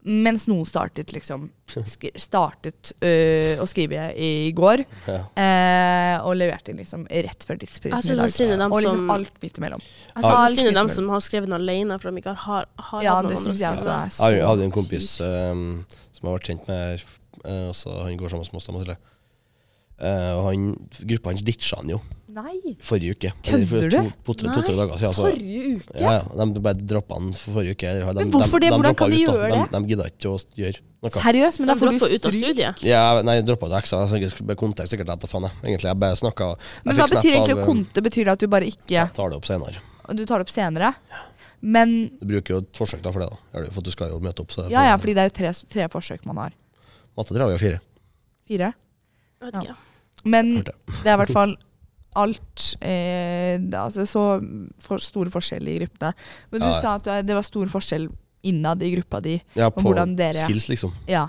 Mens noen startet
[LAUGHS]
liksom skri- startet øh, å skrive i går,
ja.
eh, og leverte inn liksom rett før
Jeg
tidsprisen i
syns det
dag.
er synd i dem
Og liksom
som- Altså,
alt midt imellom.
jeg synes det er
Altså, alt
synd i dem
midt
som har skrevet den alene, for de ikke har, har
Ja,
hatt noen
det
andre
syns jeg
som-
også er så
Jeg hadde en kompis eh, som jeg ble kjent med her, eh, også, han går sammen med oss, da, Mathilde. Eh, og han, gruppa hans ditcha han jo
Nei!
forrige uke.
Kødder
for
du?
to- på tre- To-tre
Nei,
dager siden. altså.
Forrige uke?
Ja, ja, de bare droppa han for forrige uke. Eller, de,
Men hvorfor
de,
det?
De,
Hvordan
droppa
kan de
ut, da.
gjøre
De, de gidda ikke å gjøre noe.
Seriøst, men da
De
får du
dropper ut av
stryk.
studiet.
Ja, nei, jeg droppa det ekstra. Jeg skulle bare kontekst sikkert etter faen, jeg. Egentlig, jeg bare snakka
Men hva betyr
eh,
egentlig konte? Betyr det at du bare ikke
Tar det opp senere.
Du tar det opp senere? Men
Du bruker jo et forsøk da for det, da. Gjør du, for at du skal jo møte opp. Så det er
Ja ja,
for-
fordi det er jo tre, tre forsøk man har.
Matte tror jeg vi har fire.
Fire?
Jeg vet ikke.
Men
Hørte.
det er i hvert fall alt eh, det, er altså, Så for store forskjeller i gruppene. Men du
Ja, ja.
sa at du er- det var stor forskjell innad i gruppa di.
Ja,
Og
på
hvordan dere-
skills, liksom.
Ja.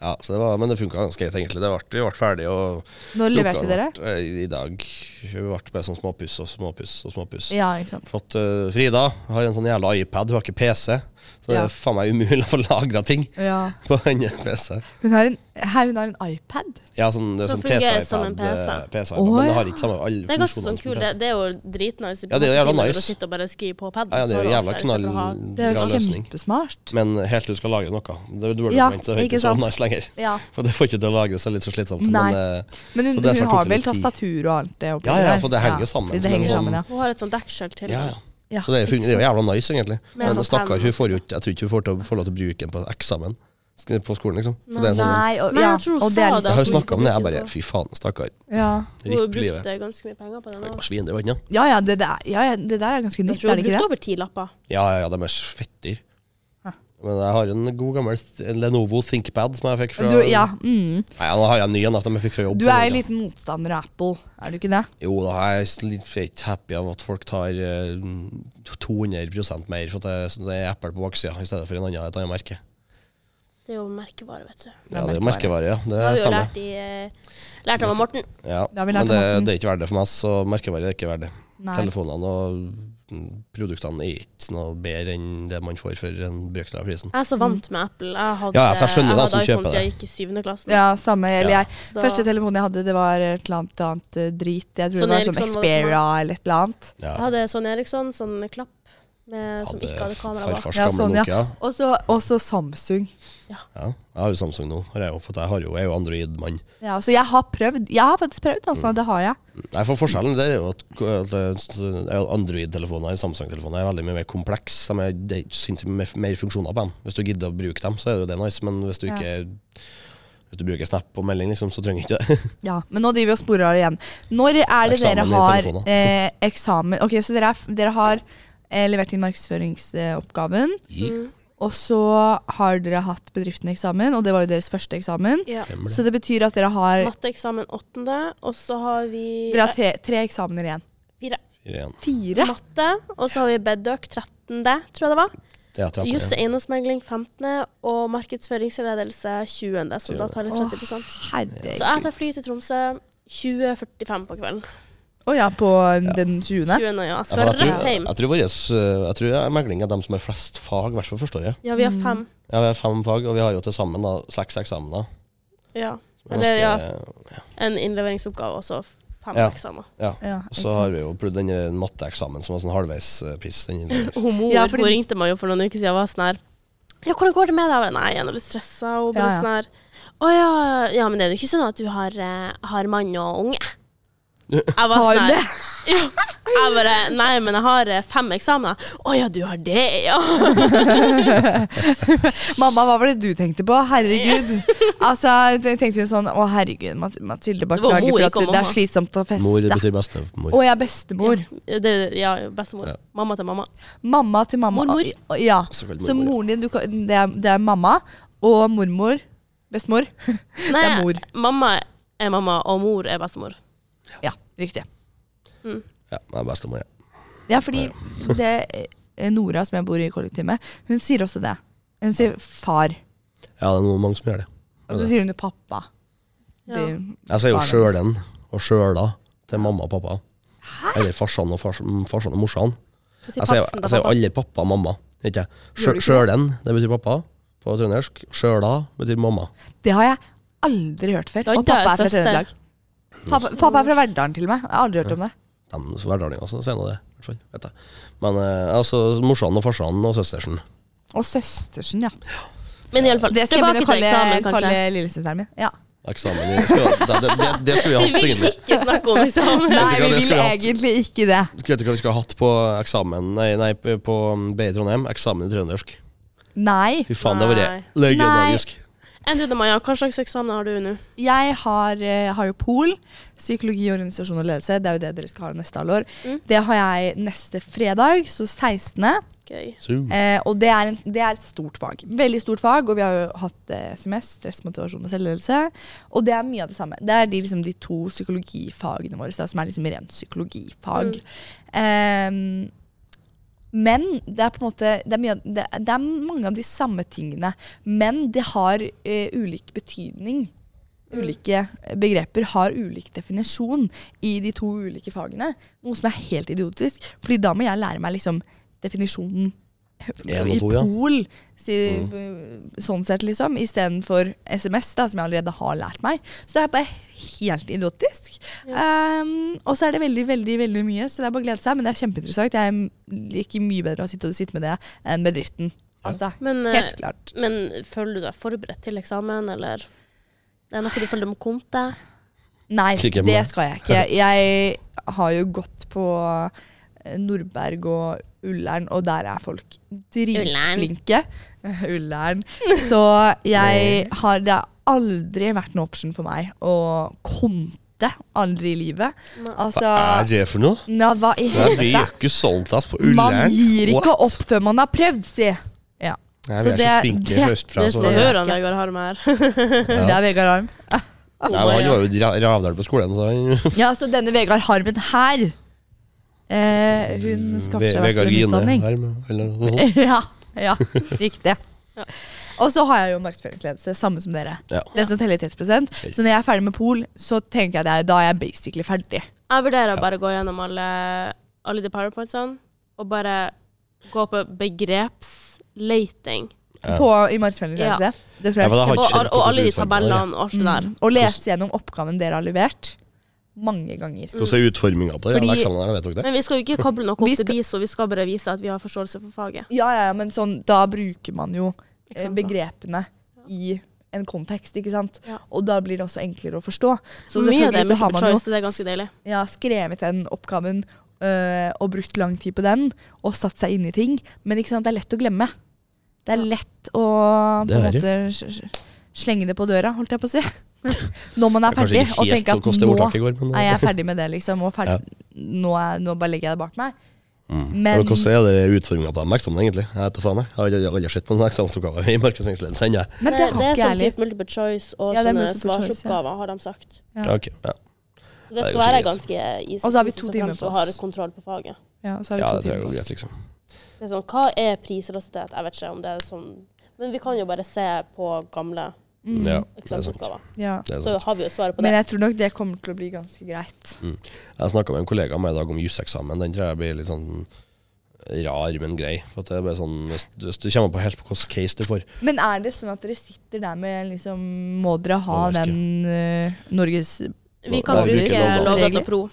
Ja, så det var, men det funka ganske greit, egentlig. Det ble, vi ble ferdige og
Når leverte dere?
tok- eh, I dag. Vi ble bare sånn småpuss og småpuss og småpuss.
Ja, ikke sant.
Fått eh, Frida har en sånn jævla iPad, hun har ikke PC. Så det
Ja.
er faen meg umulig å få lagra ting
Ja.
på en PC.
Hun har en, her, hun har en iPad.
Ja, sånn, det er
Som
sånn
fungerer som en
PC-iPad.
PC.
eh, PC.
Å,
men det
ja.
har ikke samme alle
Det er ganske sånn
funksjonene som
kul.
en
Det,
PC.
det er jo dritnice. i
Ja, det er jo jævla
mattetimer
nice.
Å sitte og bare skrive på paden.
Ja, ja, det
så
er jo
har du
jævla
alt der,
knall
istedenfor å ha-
Det er
bra
jo
løsning.
kjempesmart.
Men helt til du skal lagre
Ja,
noe. Det, du så det er
ikke
ikke så
sant.
nice lenger.
Ja.
For det får ikke til å lagre seg litt så slitsomt.
Nei.
Men, eh,
Men hun,
Så derfor
hun
tok
har
det
vel
litt tid.
tastatur og alt det oppi
Ja, ja,
der.
for det henger jo sammen,
fordi Det
så det er
henger
sånn-
sammen, ja.
Hun har et sånt dekkskjell til.
ja, ja.
ja.
Så det er, fun- det er jo jævla nice, egentlig.
Med
Men
sånn
stakkar,
fem-
hun får jo ikke Jeg tror ikke hun får, til, får lov til å bruke den på eksamen sk- på skolen, liksom. Så det er sånn,
Nei, og,
Men
ja,
jeg tror hun
og det
sa
er
det.
jeg
litt
så
har
hun
jo snakka om det, jeg
ikke
bare
på-
Fy faen, stakkar.
ja.
Hun
Ripp livet.
brukte ganske mye penger på den. også.
Stakkars svin, det var ikke noe.
Ja, ja, det der, ja, ja, det der er ganske
Jeg
nytt,
tror
er
hun
det ikke
brukte
det?
over ti lapper.
Ja, ja, ja, de er fetter.
Hæ.
Men jeg har en god gammel th- Lenovo ThinkPad som jeg fikk fra
Du, ja, mm.
Nei, nå har jeg en ny en, at de fikk fra jobb.
du
for
er
noen
jo
år
liten motstander av Apple, er du ikke det?
siden. Jo da, jeg er s- litt feit happy av at folk tar eh, 200 mer for at det, så det er Apple på baksida i stedet for en annen, et annet merke.
Det er jo merkevare, vet du.
Det er
Ja, det er jo
merkevare.
merkevare, ja. Det
Det
er
har
det
vi jo
samme.
lært, i, eh, lært av Morten.
Ja,
Det har vi
men
lært
det,
av Morten.
det er ikke verdt det for meg, så merkevare er ikke verdt det.
Nei.
Telefonene og mm, produktene er ikke noe bedre enn det man får for en brøkdel av prisen.
Jeg er så vant med Apple. Jeg hadde,
Ja, altså, jeg skjønner
jeg
dem
hadde
som
iPhone
kjøper
siden jeg gikk i syvende klasse.
Ja, samme. Eller
Ja.
jeg. Første telefonen jeg hadde, det var et eller annet, annet eh, drit. Jeg tror
Sånn
det var sånn
Ericsson var det for meg.
Xperia eller et eller annet.
Ja.
Jeg hadde sånn Eriksson, sånn klapp, med, som ikke hadde kamera bak.
Farfars
Ja,
gamle
sånn, ja.
Nokia.
Og så- Og så Samsung.
Ja, jeg har jo Samsung nå, har jeg jo, for jeg, har jo, jeg er jo Android-mann.
Ja, så jeg har prøvd. Jeg har faktisk prøvd, altså.
Mm.
Det har jeg.
Nei, for Forskjellen der er jo at at eh, det er jo Android-telefoner og Samsung-telefoner er veldig mye mer kompleks. De er, det er ikke sinnssykt mye mer, mer funksjoner på dem. Hvis du gidder å bruke dem, så er jo det nice, men hvis du
Ja.
ikke hvis du bruker Snap og melding, liksom, så trenger du ikke
[LAUGHS]
det.
Ja, Men nå driver vi og sporer av igjen. Når er det
Eksamen
dere
i
har
telefonen.
eh, eksamen? Ok, Så dere, er, f- dere har eh, levert inn markedsføringsoppgaven.
Mm.
Og så har dere hatt bedriften eksamen, og det var jo deres første eksamen.
Ja.
Stemmer det.
Så det betyr at dere har,
Matteeksamen åttende, og så har vi
dere har tre, tre eksamener igjen.
fire.
Fire igjen.
Fire?
matte, og så har vi Bedøk 13., tror jeg det var.
Det er 13,
Juss
ja.
eiendomsmegling 15., og markedsføringsledelse 20., så da tar vi 30 Så jeg
herregud.
tar fly til Tromsø 20.45 på kvelden.
Å ja, på um, den 20.
20. ja. Jeg
Ja, for
skal
Jeg tror,
rett hjem.
jeg tror, våres, eh, jeg tror jeg megling er dem som er flest fag, i hvert fall førsteåret.
Ja, vi har fem.
Ja, vi har fem fag, og vi har jo til sammen da, seks eksamener.
Ja.
Det er
Eller ja,
ganske-
en innleveringsoppgave og så fem
Ja.
eksamener.
ja.
Ja,
Og så har vi jo prøvd den der matteeksamen som var sånn halvveispris. Den eh,
Hun
Ja,
ja,
fordi-
hun ringte meg jo for noen uker siden og var sånn her Ja, hvordan går det med deg? Jeg bare, Nei, jeg er nå litt stressa. Og bare
Ja, ja.
sånn her Å ja, ja, men det er jo ikke sånn at du har, eh, har mann og unge? Jeg
[LAUGHS] Sa hun det?
Ja. Jeg bare Nei, men jeg har eh, fem eksamener. Å ja, du har det, ja.
Mamma, hva var det du tenkte på? Herregud. [LAUGHS] Altså, jeg tenkte jo sånn Å, herregud, Mat- Mathilde,
var
beklager
mor,
for at
ikke
du- det er
mamma.
slitsomt å
Mor det
feste.
betyr bestemor.
Å, jeg er bestemor.
Det, ja bestemor.
Ja.
Mamma til mamma.
Mamma til mamma.
Mormor.
Å, Ja.
Så
Så
kalt mormor, ja.
moren din, du, kan- det, er, det er mamma og mormor. Bestemor. [LAUGHS]
Nei,
Det er mor.
mamma er mamma, og mor er bestemor.
Ja, riktig.
Ja, det er bestemor, ja.
Ja, fordi det, eh, Nora, som jeg bor i kollektiv med, hun sier også det. Hun sier far,
Ja, det er noe mange som gjør det.
og så sier hun jo pappa.
Ja.
Det-
Jeg sier jo
Barnet hennes.
sjølen og sjøla til mamma og pappa. Eller farsan og, fars, farsan og morsan.
Så sier
Jeg sier jo-
papsen til
jeg sier jo
pappa.
aldri pappa og mamma. Vet jeg.
Gjør du
Sjø-
ikke
Sjølen, det betyr pappa på trøndersk. Sjøla betyr mamma.
Det har jeg aldri hørt før.
Da
Og pappa
dør
er fra
søster.
Trøndelag. Pappa, pappa er fra Verdalen til og med. Jeg har aldri hørt om det.
De hverdalingene som sier nå det, i hvert fall. Vet jeg. Men eh, altså morsan og farsan og søstersen.
Og søstersen, ja.
Men iallfall,
Det skal jeg begynne
tilbake
å
til
kalle,
eksamen, kanskje.
kalle lillesøsteren min. Ja.
Eksamen i skal, det, det, det, det skulle vi
[LAUGHS] Vi
hatt,
vil
egentlig.
ikke snakke om eksamen.
[LAUGHS]
Nei, vi
ikke hva det
vil
skulle hatt.
egentlig ikke det.
Vet du hva vi skulle ha hatt på eksamen Nei, nei på BI Trondheim? Eksamen i trøndersk.
Nei.
Fy faen, det var det.
Nei.
Legendarisk.
Enn du da, Maja, hva slags eksamen har du nå?
Jeg har, eh, har jo POL, psykologi,
Mm.
organisasjon og ledelse. Det er jo det dere skal ha neste halvår. Det har jeg neste fredag, så 16.
Gøy.
Su.
Eh, og det er, en, det er et stort fag. Veldig stort fag, og vi har jo hatt eh, SMS, stress, motivasjon og selvledelse. Og det er mye av det samme. Det er de, liksom, de to psykologifagene våre da, som er liksom rent psykologifag. Eh, men det er på en måte det er, mye, av- det, det er mange av de samme tingene. Men det har eh, ulik betydning.
Mm.
Ulike begreper har ulik definisjon i de to ulike fagene. Noe som er helt idiotisk. Fordi da må jeg lære meg liksom definisjonen
En og
i
to, ja. Mm.
pol, si, sånn sett, liksom, istedenfor SMS, da, som jeg allerede har lært meg. Så det er bare helt idiotisk. Um, og så er det veldig, veldig veldig mye, så det er bare å glede seg. Men det er kjempeinteressant. Jeg liker mye bedre å sitte, sitte med det enn bedriften. Altså,
Men, eh,
helt klart.
men føler du deg forberedt til eksamen, eller det er noe du føler du må konte?
Nei,
Klikker på
det
meg.
skal jeg
[LAUGHS]
ikke. Jeg har jo gått på eh, Nordberg og Ullern, og der er folk dritflinke. [LAUGHS] Ullern. Så jeg har Det har aldri vært en option for meg å konte. Aldri i livet. Altså
Hva er det for noe?
ja, hva i
Nei, vi
helvete?
gjør ikke sånt ass på Ullern.
Man gir ikke
What?
opp før man har prøvd, si. Ja.
Nei,
Så
vi er så
det-
flinke
det-
østfra.
det
Så,
som å
det-
høre om Vegard Harm her.
Det er Vegard Harm.
Nei, men han var jo ra- Ravdal på skolen, så han
Ja, så denne Vegard Harmen her eh, Hun skaffer seg i hvert
Mm, Vegard
fall en
Gine.
utdanning.
Harm, eller noe sånt.
[LAUGHS] ja,
[LAUGHS]
ja, riktig. Og så har jeg jo markedsføringsledelse, samme som dere.
Ja.
Det som teller i 30 Så når jeg er ferdig med Pol, så tenker jeg det, er- da er jeg basically ferdig.
[LAUGHS] Jeg vurderer å bare gå gjennom alle, alle de powerpointsene og bare gå på begrepsleiting.
På, I markedsføringsledelse. Det tror
Ja,
jeg
men da
er
har
kjempe...
Og,
skjønt
og
hvordan
alle de
utfordringen er,
tabellene og alt det der.
Og lese gjennom oppgaven dere har levert. Mange ganger.
Hvordan er utforminga på det?
Fordi-
Fordi... Eksamen her, vet dere det?
Men vi skal jo ikke koble noe
Vi
opp til
skal-
de, så vi skal bare vise at vi har forståelse for faget.
Ja, ja, ja, men sånn, da bruker man jo eh,
Eksempler.
begrepene i en kontekst, ikke sant?
Ja.
Og da blir det også enklere å forstå. Så
Mye av
selvfølgelig
det er
så har
multiple
man jo
choice, det er ganske deilig.
ja, skrevet den oppgaven øh, og brukt lang tid på den, og satt seg inn i ting. Men ikke sant, det er lett å glemme. Det er lett å på
Det
en
er det.
måte sl- sl- slenge det på døra, holdt jeg på å si. [LAUGHS] Når man er
Det er
ferdig,
kanskje ikke
og
helt
tenker
så
at
kostet
nå
ordtaket i går, men-
er jeg ferdig med det, liksom, og ferdig, nå, er, nå bare legger jeg det bak meg. Men
Mm. Men hvordan er det utforminga på de eksamen, egentlig? Jeg vet da faen, jeg. Jeg har aldri- aldri sett på en sånn eksamensoppgave i markedsføringsledelse ennå. jeg.
Men det har
det er
ikke jeg
sånn
heller.
type multiple choice og
Ja, det er
sånne
multiple choice, ja.
svarsoppgaver, har de sagt.
Ja.
Ok, ja.
Så det skal
er kanskje
være
greit.
ganske easy.
Og så har vi
hvis
to
du
timer
fremstå
på
og har
oss.
kontroll på faget.
Ja, så har vi
ja,
to
det tror jeg
timer
går
på
greit,
oss.
liksom.
Det er sånn, hva er prisrasitet? Jeg vet ikke om det er sånn Men vi kan jo bare se på gamle
Ja, det er sant.
eksamensoppgaver.
Ja.
liksom. Det Mm. er
Så
sant.
har vi jo svaret på
Men
det.
jeg tror nok det kommer til å bli ganske greit.
Jeg snakka med en kollega av meg i dag om juseksamen. Den tror jeg blir litt sånn rar, men grei. For at det er bare sånn, hvis du- hvis du kommer på helt på hvilken case du får.
Men er det sånn at dere sitter der med liksom Må dere ha
Lovverket.
den øh, Norges
Vi kan
Hva- hva-
bruke
hvilke lovdata?
Lovdata Pro.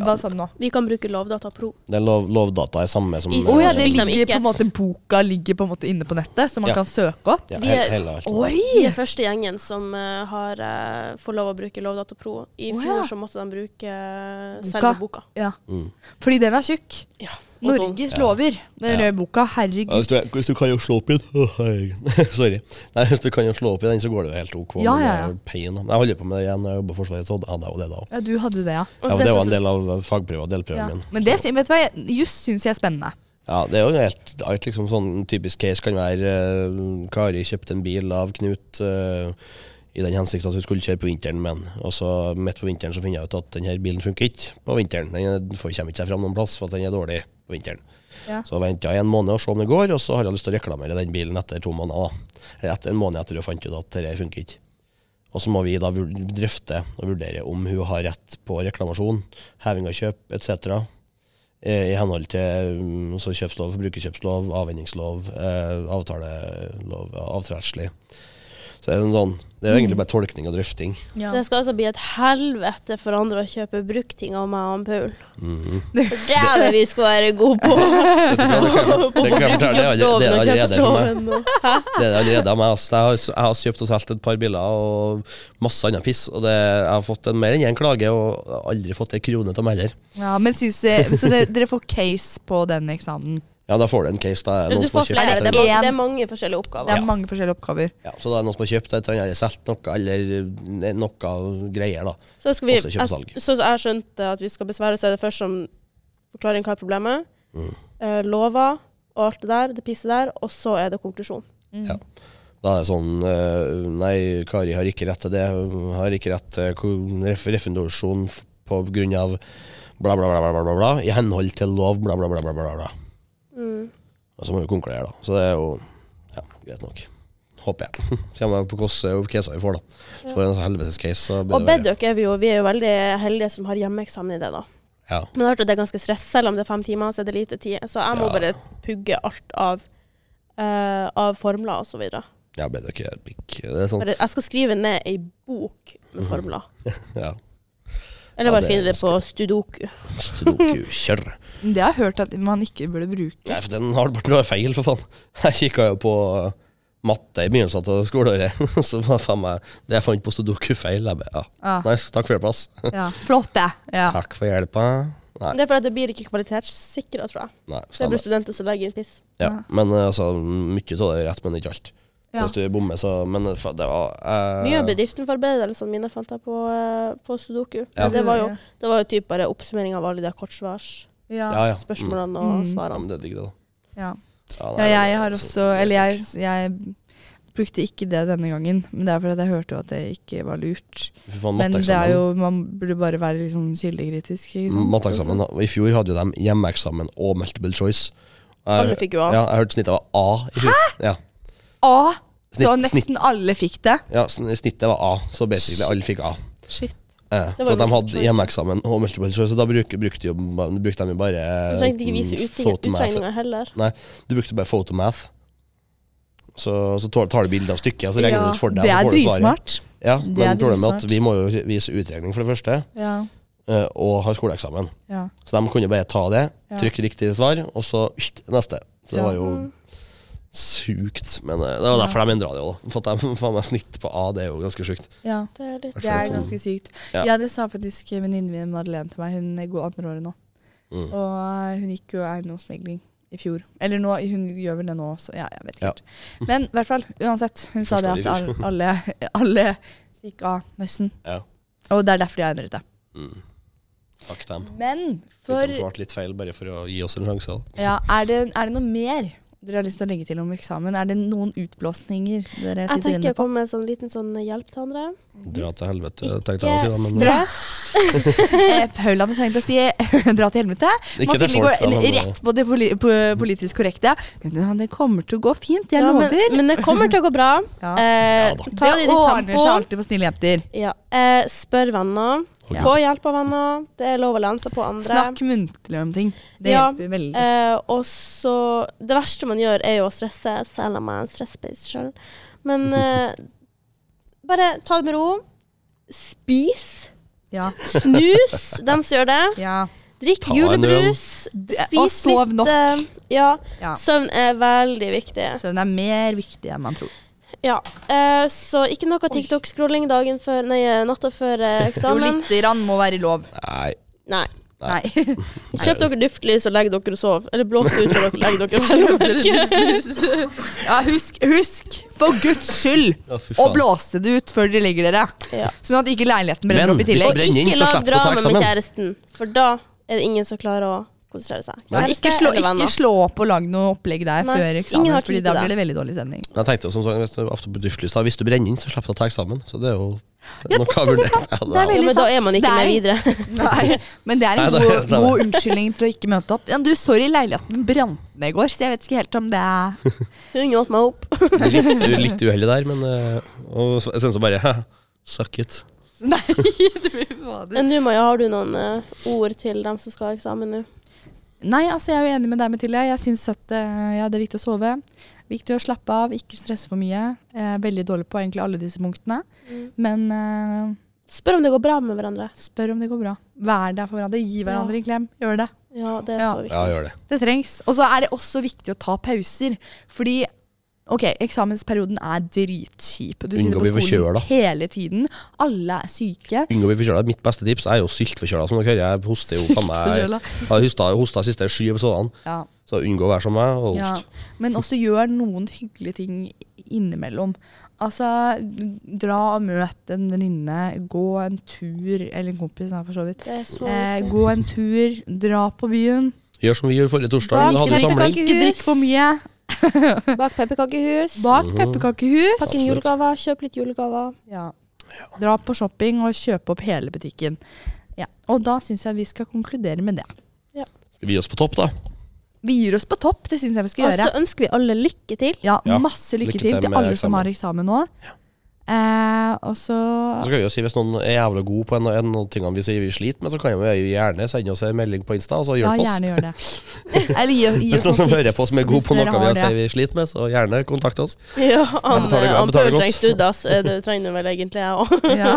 Hva sa du nå?
Vi kan bruke Lovdata Pro.
Det er lov, lovdata er samme som
I-
Å ja,
Så
det
fikk de
ligger
ikke.
på en måte, boka ligger på en måte inne på nettet, så man
Ja.
kan søke opp.
ja,
vi
he-
er-
hele, alt.
Vi er første gjengen som eh, har eh, får lov å bruke Lovdata Pro. I
Å, ja.
fjor så måtte de bruke eh, selve boka.
Ja.
Mm.
Fordi den er tjukk.
Ja. og tung.
Norges lover, den røde boka.
Ja, hvis,
Herregud.
du, hvis du kan jo slå opp i den Å, herregud. [LAUGHS] Sorry. Nei, hvis du kan jo slå opp i den, så går det jo helt OK.
Ja,
men
ja, ja.
det er pain, da. Men Jeg holder på med det igjen når jeg jobber i Forsvaret, så hadde jeg jo det da
Ja, du hadde det, ja.
Og
Ja,
så
men det
så-
var en del av fagprøva, delprøven
ja.
min.
Men det, sy- vet du hva, jeg- juss syns jeg er spennende.
Ja, det er jo helt, alt liksom sånn typisk case kan være eh, Kari kjøpte en bil av Knut eh, i den hensikt at hun skulle kjøre på vinteren med den. Og så midt på vinteren så finner jeg ut at denne bilen funker ikke på vinteren. Den er- får- kommer ikke seg fram noen plass for at den er dårlig på vinteren.
Ja.
Så venter jeg en måned og ser om det går, og så har jeg lyst til å reklamere den bilen etter to måneder. da. Eller etter en måned etter hun fant ut at dette funker ikke. Og så må vi da vur- drøfte og vurdere om hun har rett på reklamasjon, heving av kjøp etc. I henhold til um, så kjøpslov, forbrukerkjøpslov, avhendingslov, eh, avtalelov, avtredslig. Så det er, en sånn, det er jo egentlig
Mm.
bare tolkning og drøfting.
Ja.
Det skal altså bli et helvete for andre å kjøpe bruktting av meg og han Paul. [LAUGHS]
Mhm.
For det er [LAUGHS] det vi skal være gode på!
Vet du hva, Det kan jeg- det kan jeg fortelle, det er allerede- det er
Kjøpsloven og
allerede for meg.
kjøpsloven og Hæ?
Det er det allerede av meg. ass. Jeg har, jeg har kjøpt og solgt et par biler og masse annet piss. Og det, jeg har fått en, mer enn én klage, og jeg har aldri fått ei krone av meg heller.
Ja, men syns jeg, Så det, dere får case på den eksamen.
Ja, da får du en case. Da er det
Du
noen som
får
har kjøpt
flere.
et
Det er,
eller annet.
mange, det er mange forskjellige
Det
oppgaver.
er mange forskjellige oppgaver.
Ja, så da er det noen som har kjøpt et eller annet, eller solgt noe, eller eh, noe greier, da.
Så skal vi,
Også kjøpe salg. Mm.
jeg, så jeg skjønte at vi skal besvære oss, er det først som forklaring hva er problemet. eh, lover og alt det der, det pisset der, og så er det konklusjon.
Mm.
Ja. Da er det sånn eh, Nei, Kari har ikke rett til det. Hun har ikke rett til ko- ref- refundasjon f- på grunn av bla, bla, bla, bla, bla, bla, bla. I henhold til lov, bla, bla, bla, bla, bla, bla. Og så må vi konkludere, da. Så det er jo ja, greit nok. Håper jeg. [LAUGHS] Kommer an på hvilke caser vi får, da. Så får vi en sånn helvetes case, så blir
Og
det verre.
bedøk er vi jo, vi er jo veldig heldige som har hjemmeeksamen i det, da.
Ja.
Men jeg har hørt at det er ganske stress, selv om det er fem timer, så er det lite tid. Så jeg må
Ja.
bare pugge alt av, eh, av formler og så videre.
ja, bedøk er pikk. Det er sånn. [LAUGHS]
Bare- Jeg skal skrive ned ei bok med formler.
Ja.
Eller
Mhm. Ja,
bare
det
finne det på Studoku.
Sudoku, kjør.
Men Det har jeg hørt at man ikke burde bruke.
Nei, for den har Barten vært feil, for faen. [LAUGHS] Jeg kikka jo på eh, matte i begynnelsen av skoleåret, [LAUGHS] så var faen meg Det jeg fant på Sudoku, feil. Jeg bare, ja.
Ah,
Nice, takk for hjelpa.
ja. Flott, det. Ja.
Takk for hjelpa. Nei,
Det er fordi det blir ikke kvalitetssikra, tror jeg.
nei
Så det blir
stemmer.
studenter som legger inn piss.
Ja. Men eh, altså, mye av det er rett, men ikke alt.
Ja.
Hvis du bommer, så Men eh, faen, det var eh,
Mye av bedriftenforberedelsene mine fant jeg på, eh, på Sudoku.
Ja.
Men Det var jo, det var jo typ bare oppsummering av alle de kortsvarsspørsmålene
Ja.
Ja, ja. Mm.
og
Mm.
ja men
svarene.
det er digg, det, da.
Ja.
nei,
ja, jeg har
det er
også
sånn-
Eller jeg, jeg brukte ikke det denne gangen, men det er fordi at jeg hørte jo at det ikke var lurt.
Fy faen,
Men det er
matteeksamen. Mm,
jo altså. Man burde bare være liksom kildekritisk. ikke sant?
Matteeksamen. da. I fjor hadde jo de hjemmeeksamen og multiple choice.
Mm.
Alle
Mm.
fikk jo A.
Ja, jeg hørte snittet var A i fjor. Ja.
Ah, så
Snitt-
nesten alle fikk det.
Ja, sn- snittet var A, så basically alle fikk A.
Shit.
Eh,
Det
for
var
at de
multiple
hadde
choice.
hjemmeeksamen og multiple choice, så da bruk, brukte, jo, ba- brukte de jo bare
Du trengte ikke vise
mm,
utting-
photomath.
utregninger heller.
Nei, du brukte bare photomath. Så, så tar tar du bilde av stykket, og så regner
Ja,
du ut for deg.
det
og så
er
får du svaret.
dritsmart.
Ja,
Det er
men problemet er at
dritsmart.
vi må jo vise utregning, for det første,
Ja,
eh, og har skoleeksamen.
ja.
Så de kunne bare ta det,
Ja.
trykke riktig svar, og så yht, neste. Så det
Ja.
var jo
Mm,
sjukt. Men eh, det var
Ja.
derfor de endra det òg. For at de [LAUGHS] faen meg snitt på A, det er jo ganske sjukt.
ja.
Det er litt
Det
Følt
er
som-
ganske sykt.
sånn- Ja.
Ja, det sa faktisk venninnen min Madeleine til meg. Hun går andre året nå.
Mm.
Og hun gikk jo eiendomsmegling i fjor. Eller nå, hun gjør vel det nå også. Ja, jeg vet ikke.
Ja.
helt. Men i hvert fall, uansett. Hun sa det
Første
at
år i
al- alle, [LAUGHS] alle fikk A, nesten.
Ja.
Og det er derfor jeg endret det.
Mm. Takk dem.
Men
For... De
for
svarte litt feil, bare for å gi oss en sjanse. da.
ja, er, det, er det noe mer dere har lyst til å legge til om eksamen? Er det noen utblåsninger dere
Jeg
sitter
tenker
inne
å
på?
komme med en sånn liten sånn hjelp til andre.
Dra til helvete,
Ikke
tenkte jeg å si. Da, men
Dra. [LAUGHS] Eh, Paul hadde tenkt å si [LAUGHS] 'dra til helvete'.
ikke til
Mathilde
folk. Da,
går
men, eh,
rett på det poli på politisk korrekte. Men det- det kommer til å gå fint, jeg
Ja,
lover.
men, men det kommer til å gå bra.
[LAUGHS] Ja.
Eh,
Ja da.
ta det i
det
ditt
ordner seg
tempo.
alltid for snille jenter.
Ja. Eh, spør venner.
Ok.
Få hjelp av venner. Det er lov å lene seg på andre.
Snakk muntlig om ting. Det
Ja,
hjelper veldig.
Eh, og så Det verste man gjør, er jo å stresse, selv om jeg er en stressbase sjøl. Men
[LAUGHS]
eh, bare ta det med ro. Spis.
ja.
Snus,
[LAUGHS]
dem som gjør det.
ja.
Drikk
Ta en øl.
julebrus. Spis
og sov
litt,
nok.
eh, ja.
Ja.
Søvn er veldig viktig.
Søvn er mer viktig enn man tror.
Ja. Eh, så ikke noe TikTok-scrolling dagen før Nei, eh, natta før eh,
[LAUGHS] Jo,
eksamen.
lite grann må være lov.
Nei.
Nei.
Nei.
[LAUGHS]
[LAUGHS]
Kjøp dere duftlys og legg dere og sov. Eller blås ut og legg dere mellom
[LAUGHS] ja, husk, husk, for guds skyld,
Ja, fy
å
faen.
blåse det ut før dere legger dere.
Ja.
Sånn at ikke leiligheten brenner
Men
opp i
hvis
tillegg.
det brenner inn,
Ikke
så
lag
slipper du å ta
drama med
eksamen.
kjæresten, for da er det ingen som klarer å konsentrere seg.
Ja,
Kjæreste
ikke, slå,
eller venner.
ikke slå opp og lag noe opplegg der
Nei,
før
ingen
eksamen,
har tid
Fordi
til
da
det.
blir det veldig dårlig sending.
Jeg tenkte jo som sagt, hvis du, ofte på duftlys, da, hvis du brenner inn, så slipper du å ta eksamen. Så det er jo det er noe jeg vurderte. Ja, det
Det
[LAUGHS]
er
er-
veldig
ja, men da
sant.
er man ikke
Det er-
med videre. [LAUGHS]
Nei, men det er en
Nei, det-
god,
det er det.
god unnskyldning til å ikke møte opp. Ja, men du, sorry, leiligheten brant ned i går, så jeg vet ikke helt om det er
Hun åt meg opp.
litt, litt uheldig der, men eh, og så- sen så bare [LAUGHS] haha, Suck it.
Nei, [LAUGHS] du fader.
Men nå, Maja, har du noen eh, ord til dem som skal ha eksamen nå?
Nei, altså jeg er jo enig med deg, Mathilde. Jeg syns at eh, ja, det er viktig å sove. Viktig å slappe av, ikke stresse for mye. Jeg er veldig dårlig på egentlig alle disse punktene.
Mm.
Men eh,
Spør om det går bra med hverandre.
spør om det går bra. Vær der for hverandre. Gi hverandre en klem. Gjør det.
Ja, det er
Ja.
så viktig.
Ja, gjør det.
Det trengs. Og så er det også viktig å ta pauser. Fordi ok, eksamensperioden er dritkjip. Du sitter
Unngå
på
å bli
skolen
forkjøla.
hele tiden. Alle er syke.
Unngå å bli forkjøla. Mitt beste tips er jo syltforkjøla, som dere hører. Jeg hoster jo faen meg
Forkjøla.
Jeg har hosta- hosta de siste sju episodene,
Ja.
så unngå å være som meg og
ja.
host.
Men også gjør noen hyggelige ting innimellom. Altså, dra og møt en venninne. Gå en tur, eller en kompis, da, for så vidt.
Det er så
Eh,
viktig.
gå en tur, dra på byen.
Gjør som vi gjorde forrige torsdag.
Bak
Vi hadde
den
samling.
pepperkakehus.
Ikke drikk for mye.
Bak pepperkakehus.
Bak pepperkakehus.
Pakk inn
Absolutt.
julegaver. Kjøp litt julegaver.
Ja. Dra på shopping og kjøpe opp hele butikken. Ja. Og da syns jeg vi skal konkludere med det.
Skal vi gi oss på topp, da?
Vi gir oss på topp, det syns jeg vi skal
Og så
gjøre.
ønsker vi alle lykke til.
Ja,
Ja.
Masse lykke,
Lykke
til
til
til
med
alle som
eksamen.
har eksamen nå. Eh, og så
Så skal vi jo si Hvis noen er jævla god på en, en av tingene vi sier vi sliter med, så kan vi jo gjerne sende oss en melding på Insta, og så
Ja,
hjelp oss.
gjerne gjør det.
[LAUGHS]
Eller gi, gi
Hvis
oss
noen som
noen
hører på som er god
hvis
på
dere
noe vi
har
har sier
det.
vi sliter med, så gjerne kontakt oss.
[LAUGHS] Ja, han,
betaler- jeg
han
betaler
Paul
godt.
trenger studier, ass. Eh, Det trenger du vel egentlig, jeg òg.
[LAUGHS] Ja.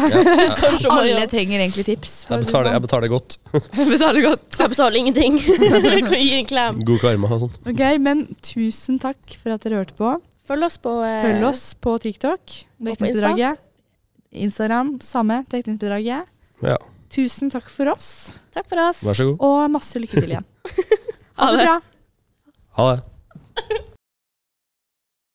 Kanskje om å
Alle
gjøre-
trenger egentlig tips. for å si det
Jeg betaler, jeg
sånn.
betaler godt.
betaler godt.
Jeg betaler ingenting. [LAUGHS] Jeg kan gi en klem.
God karma og sånn.
[LAUGHS] Ok, men tusen takk for at dere hørte på.
Følg oss på eh,
Følg oss på TikTok.
på
Dekningsbidraget. Instagram, samme. Dekningsbidraget.
Ja,
Tusen takk for oss,
Takk for oss.
vær så god.
[LAUGHS] og masse lykke til igjen. Ha det
Ha det.
bra.
Ha det.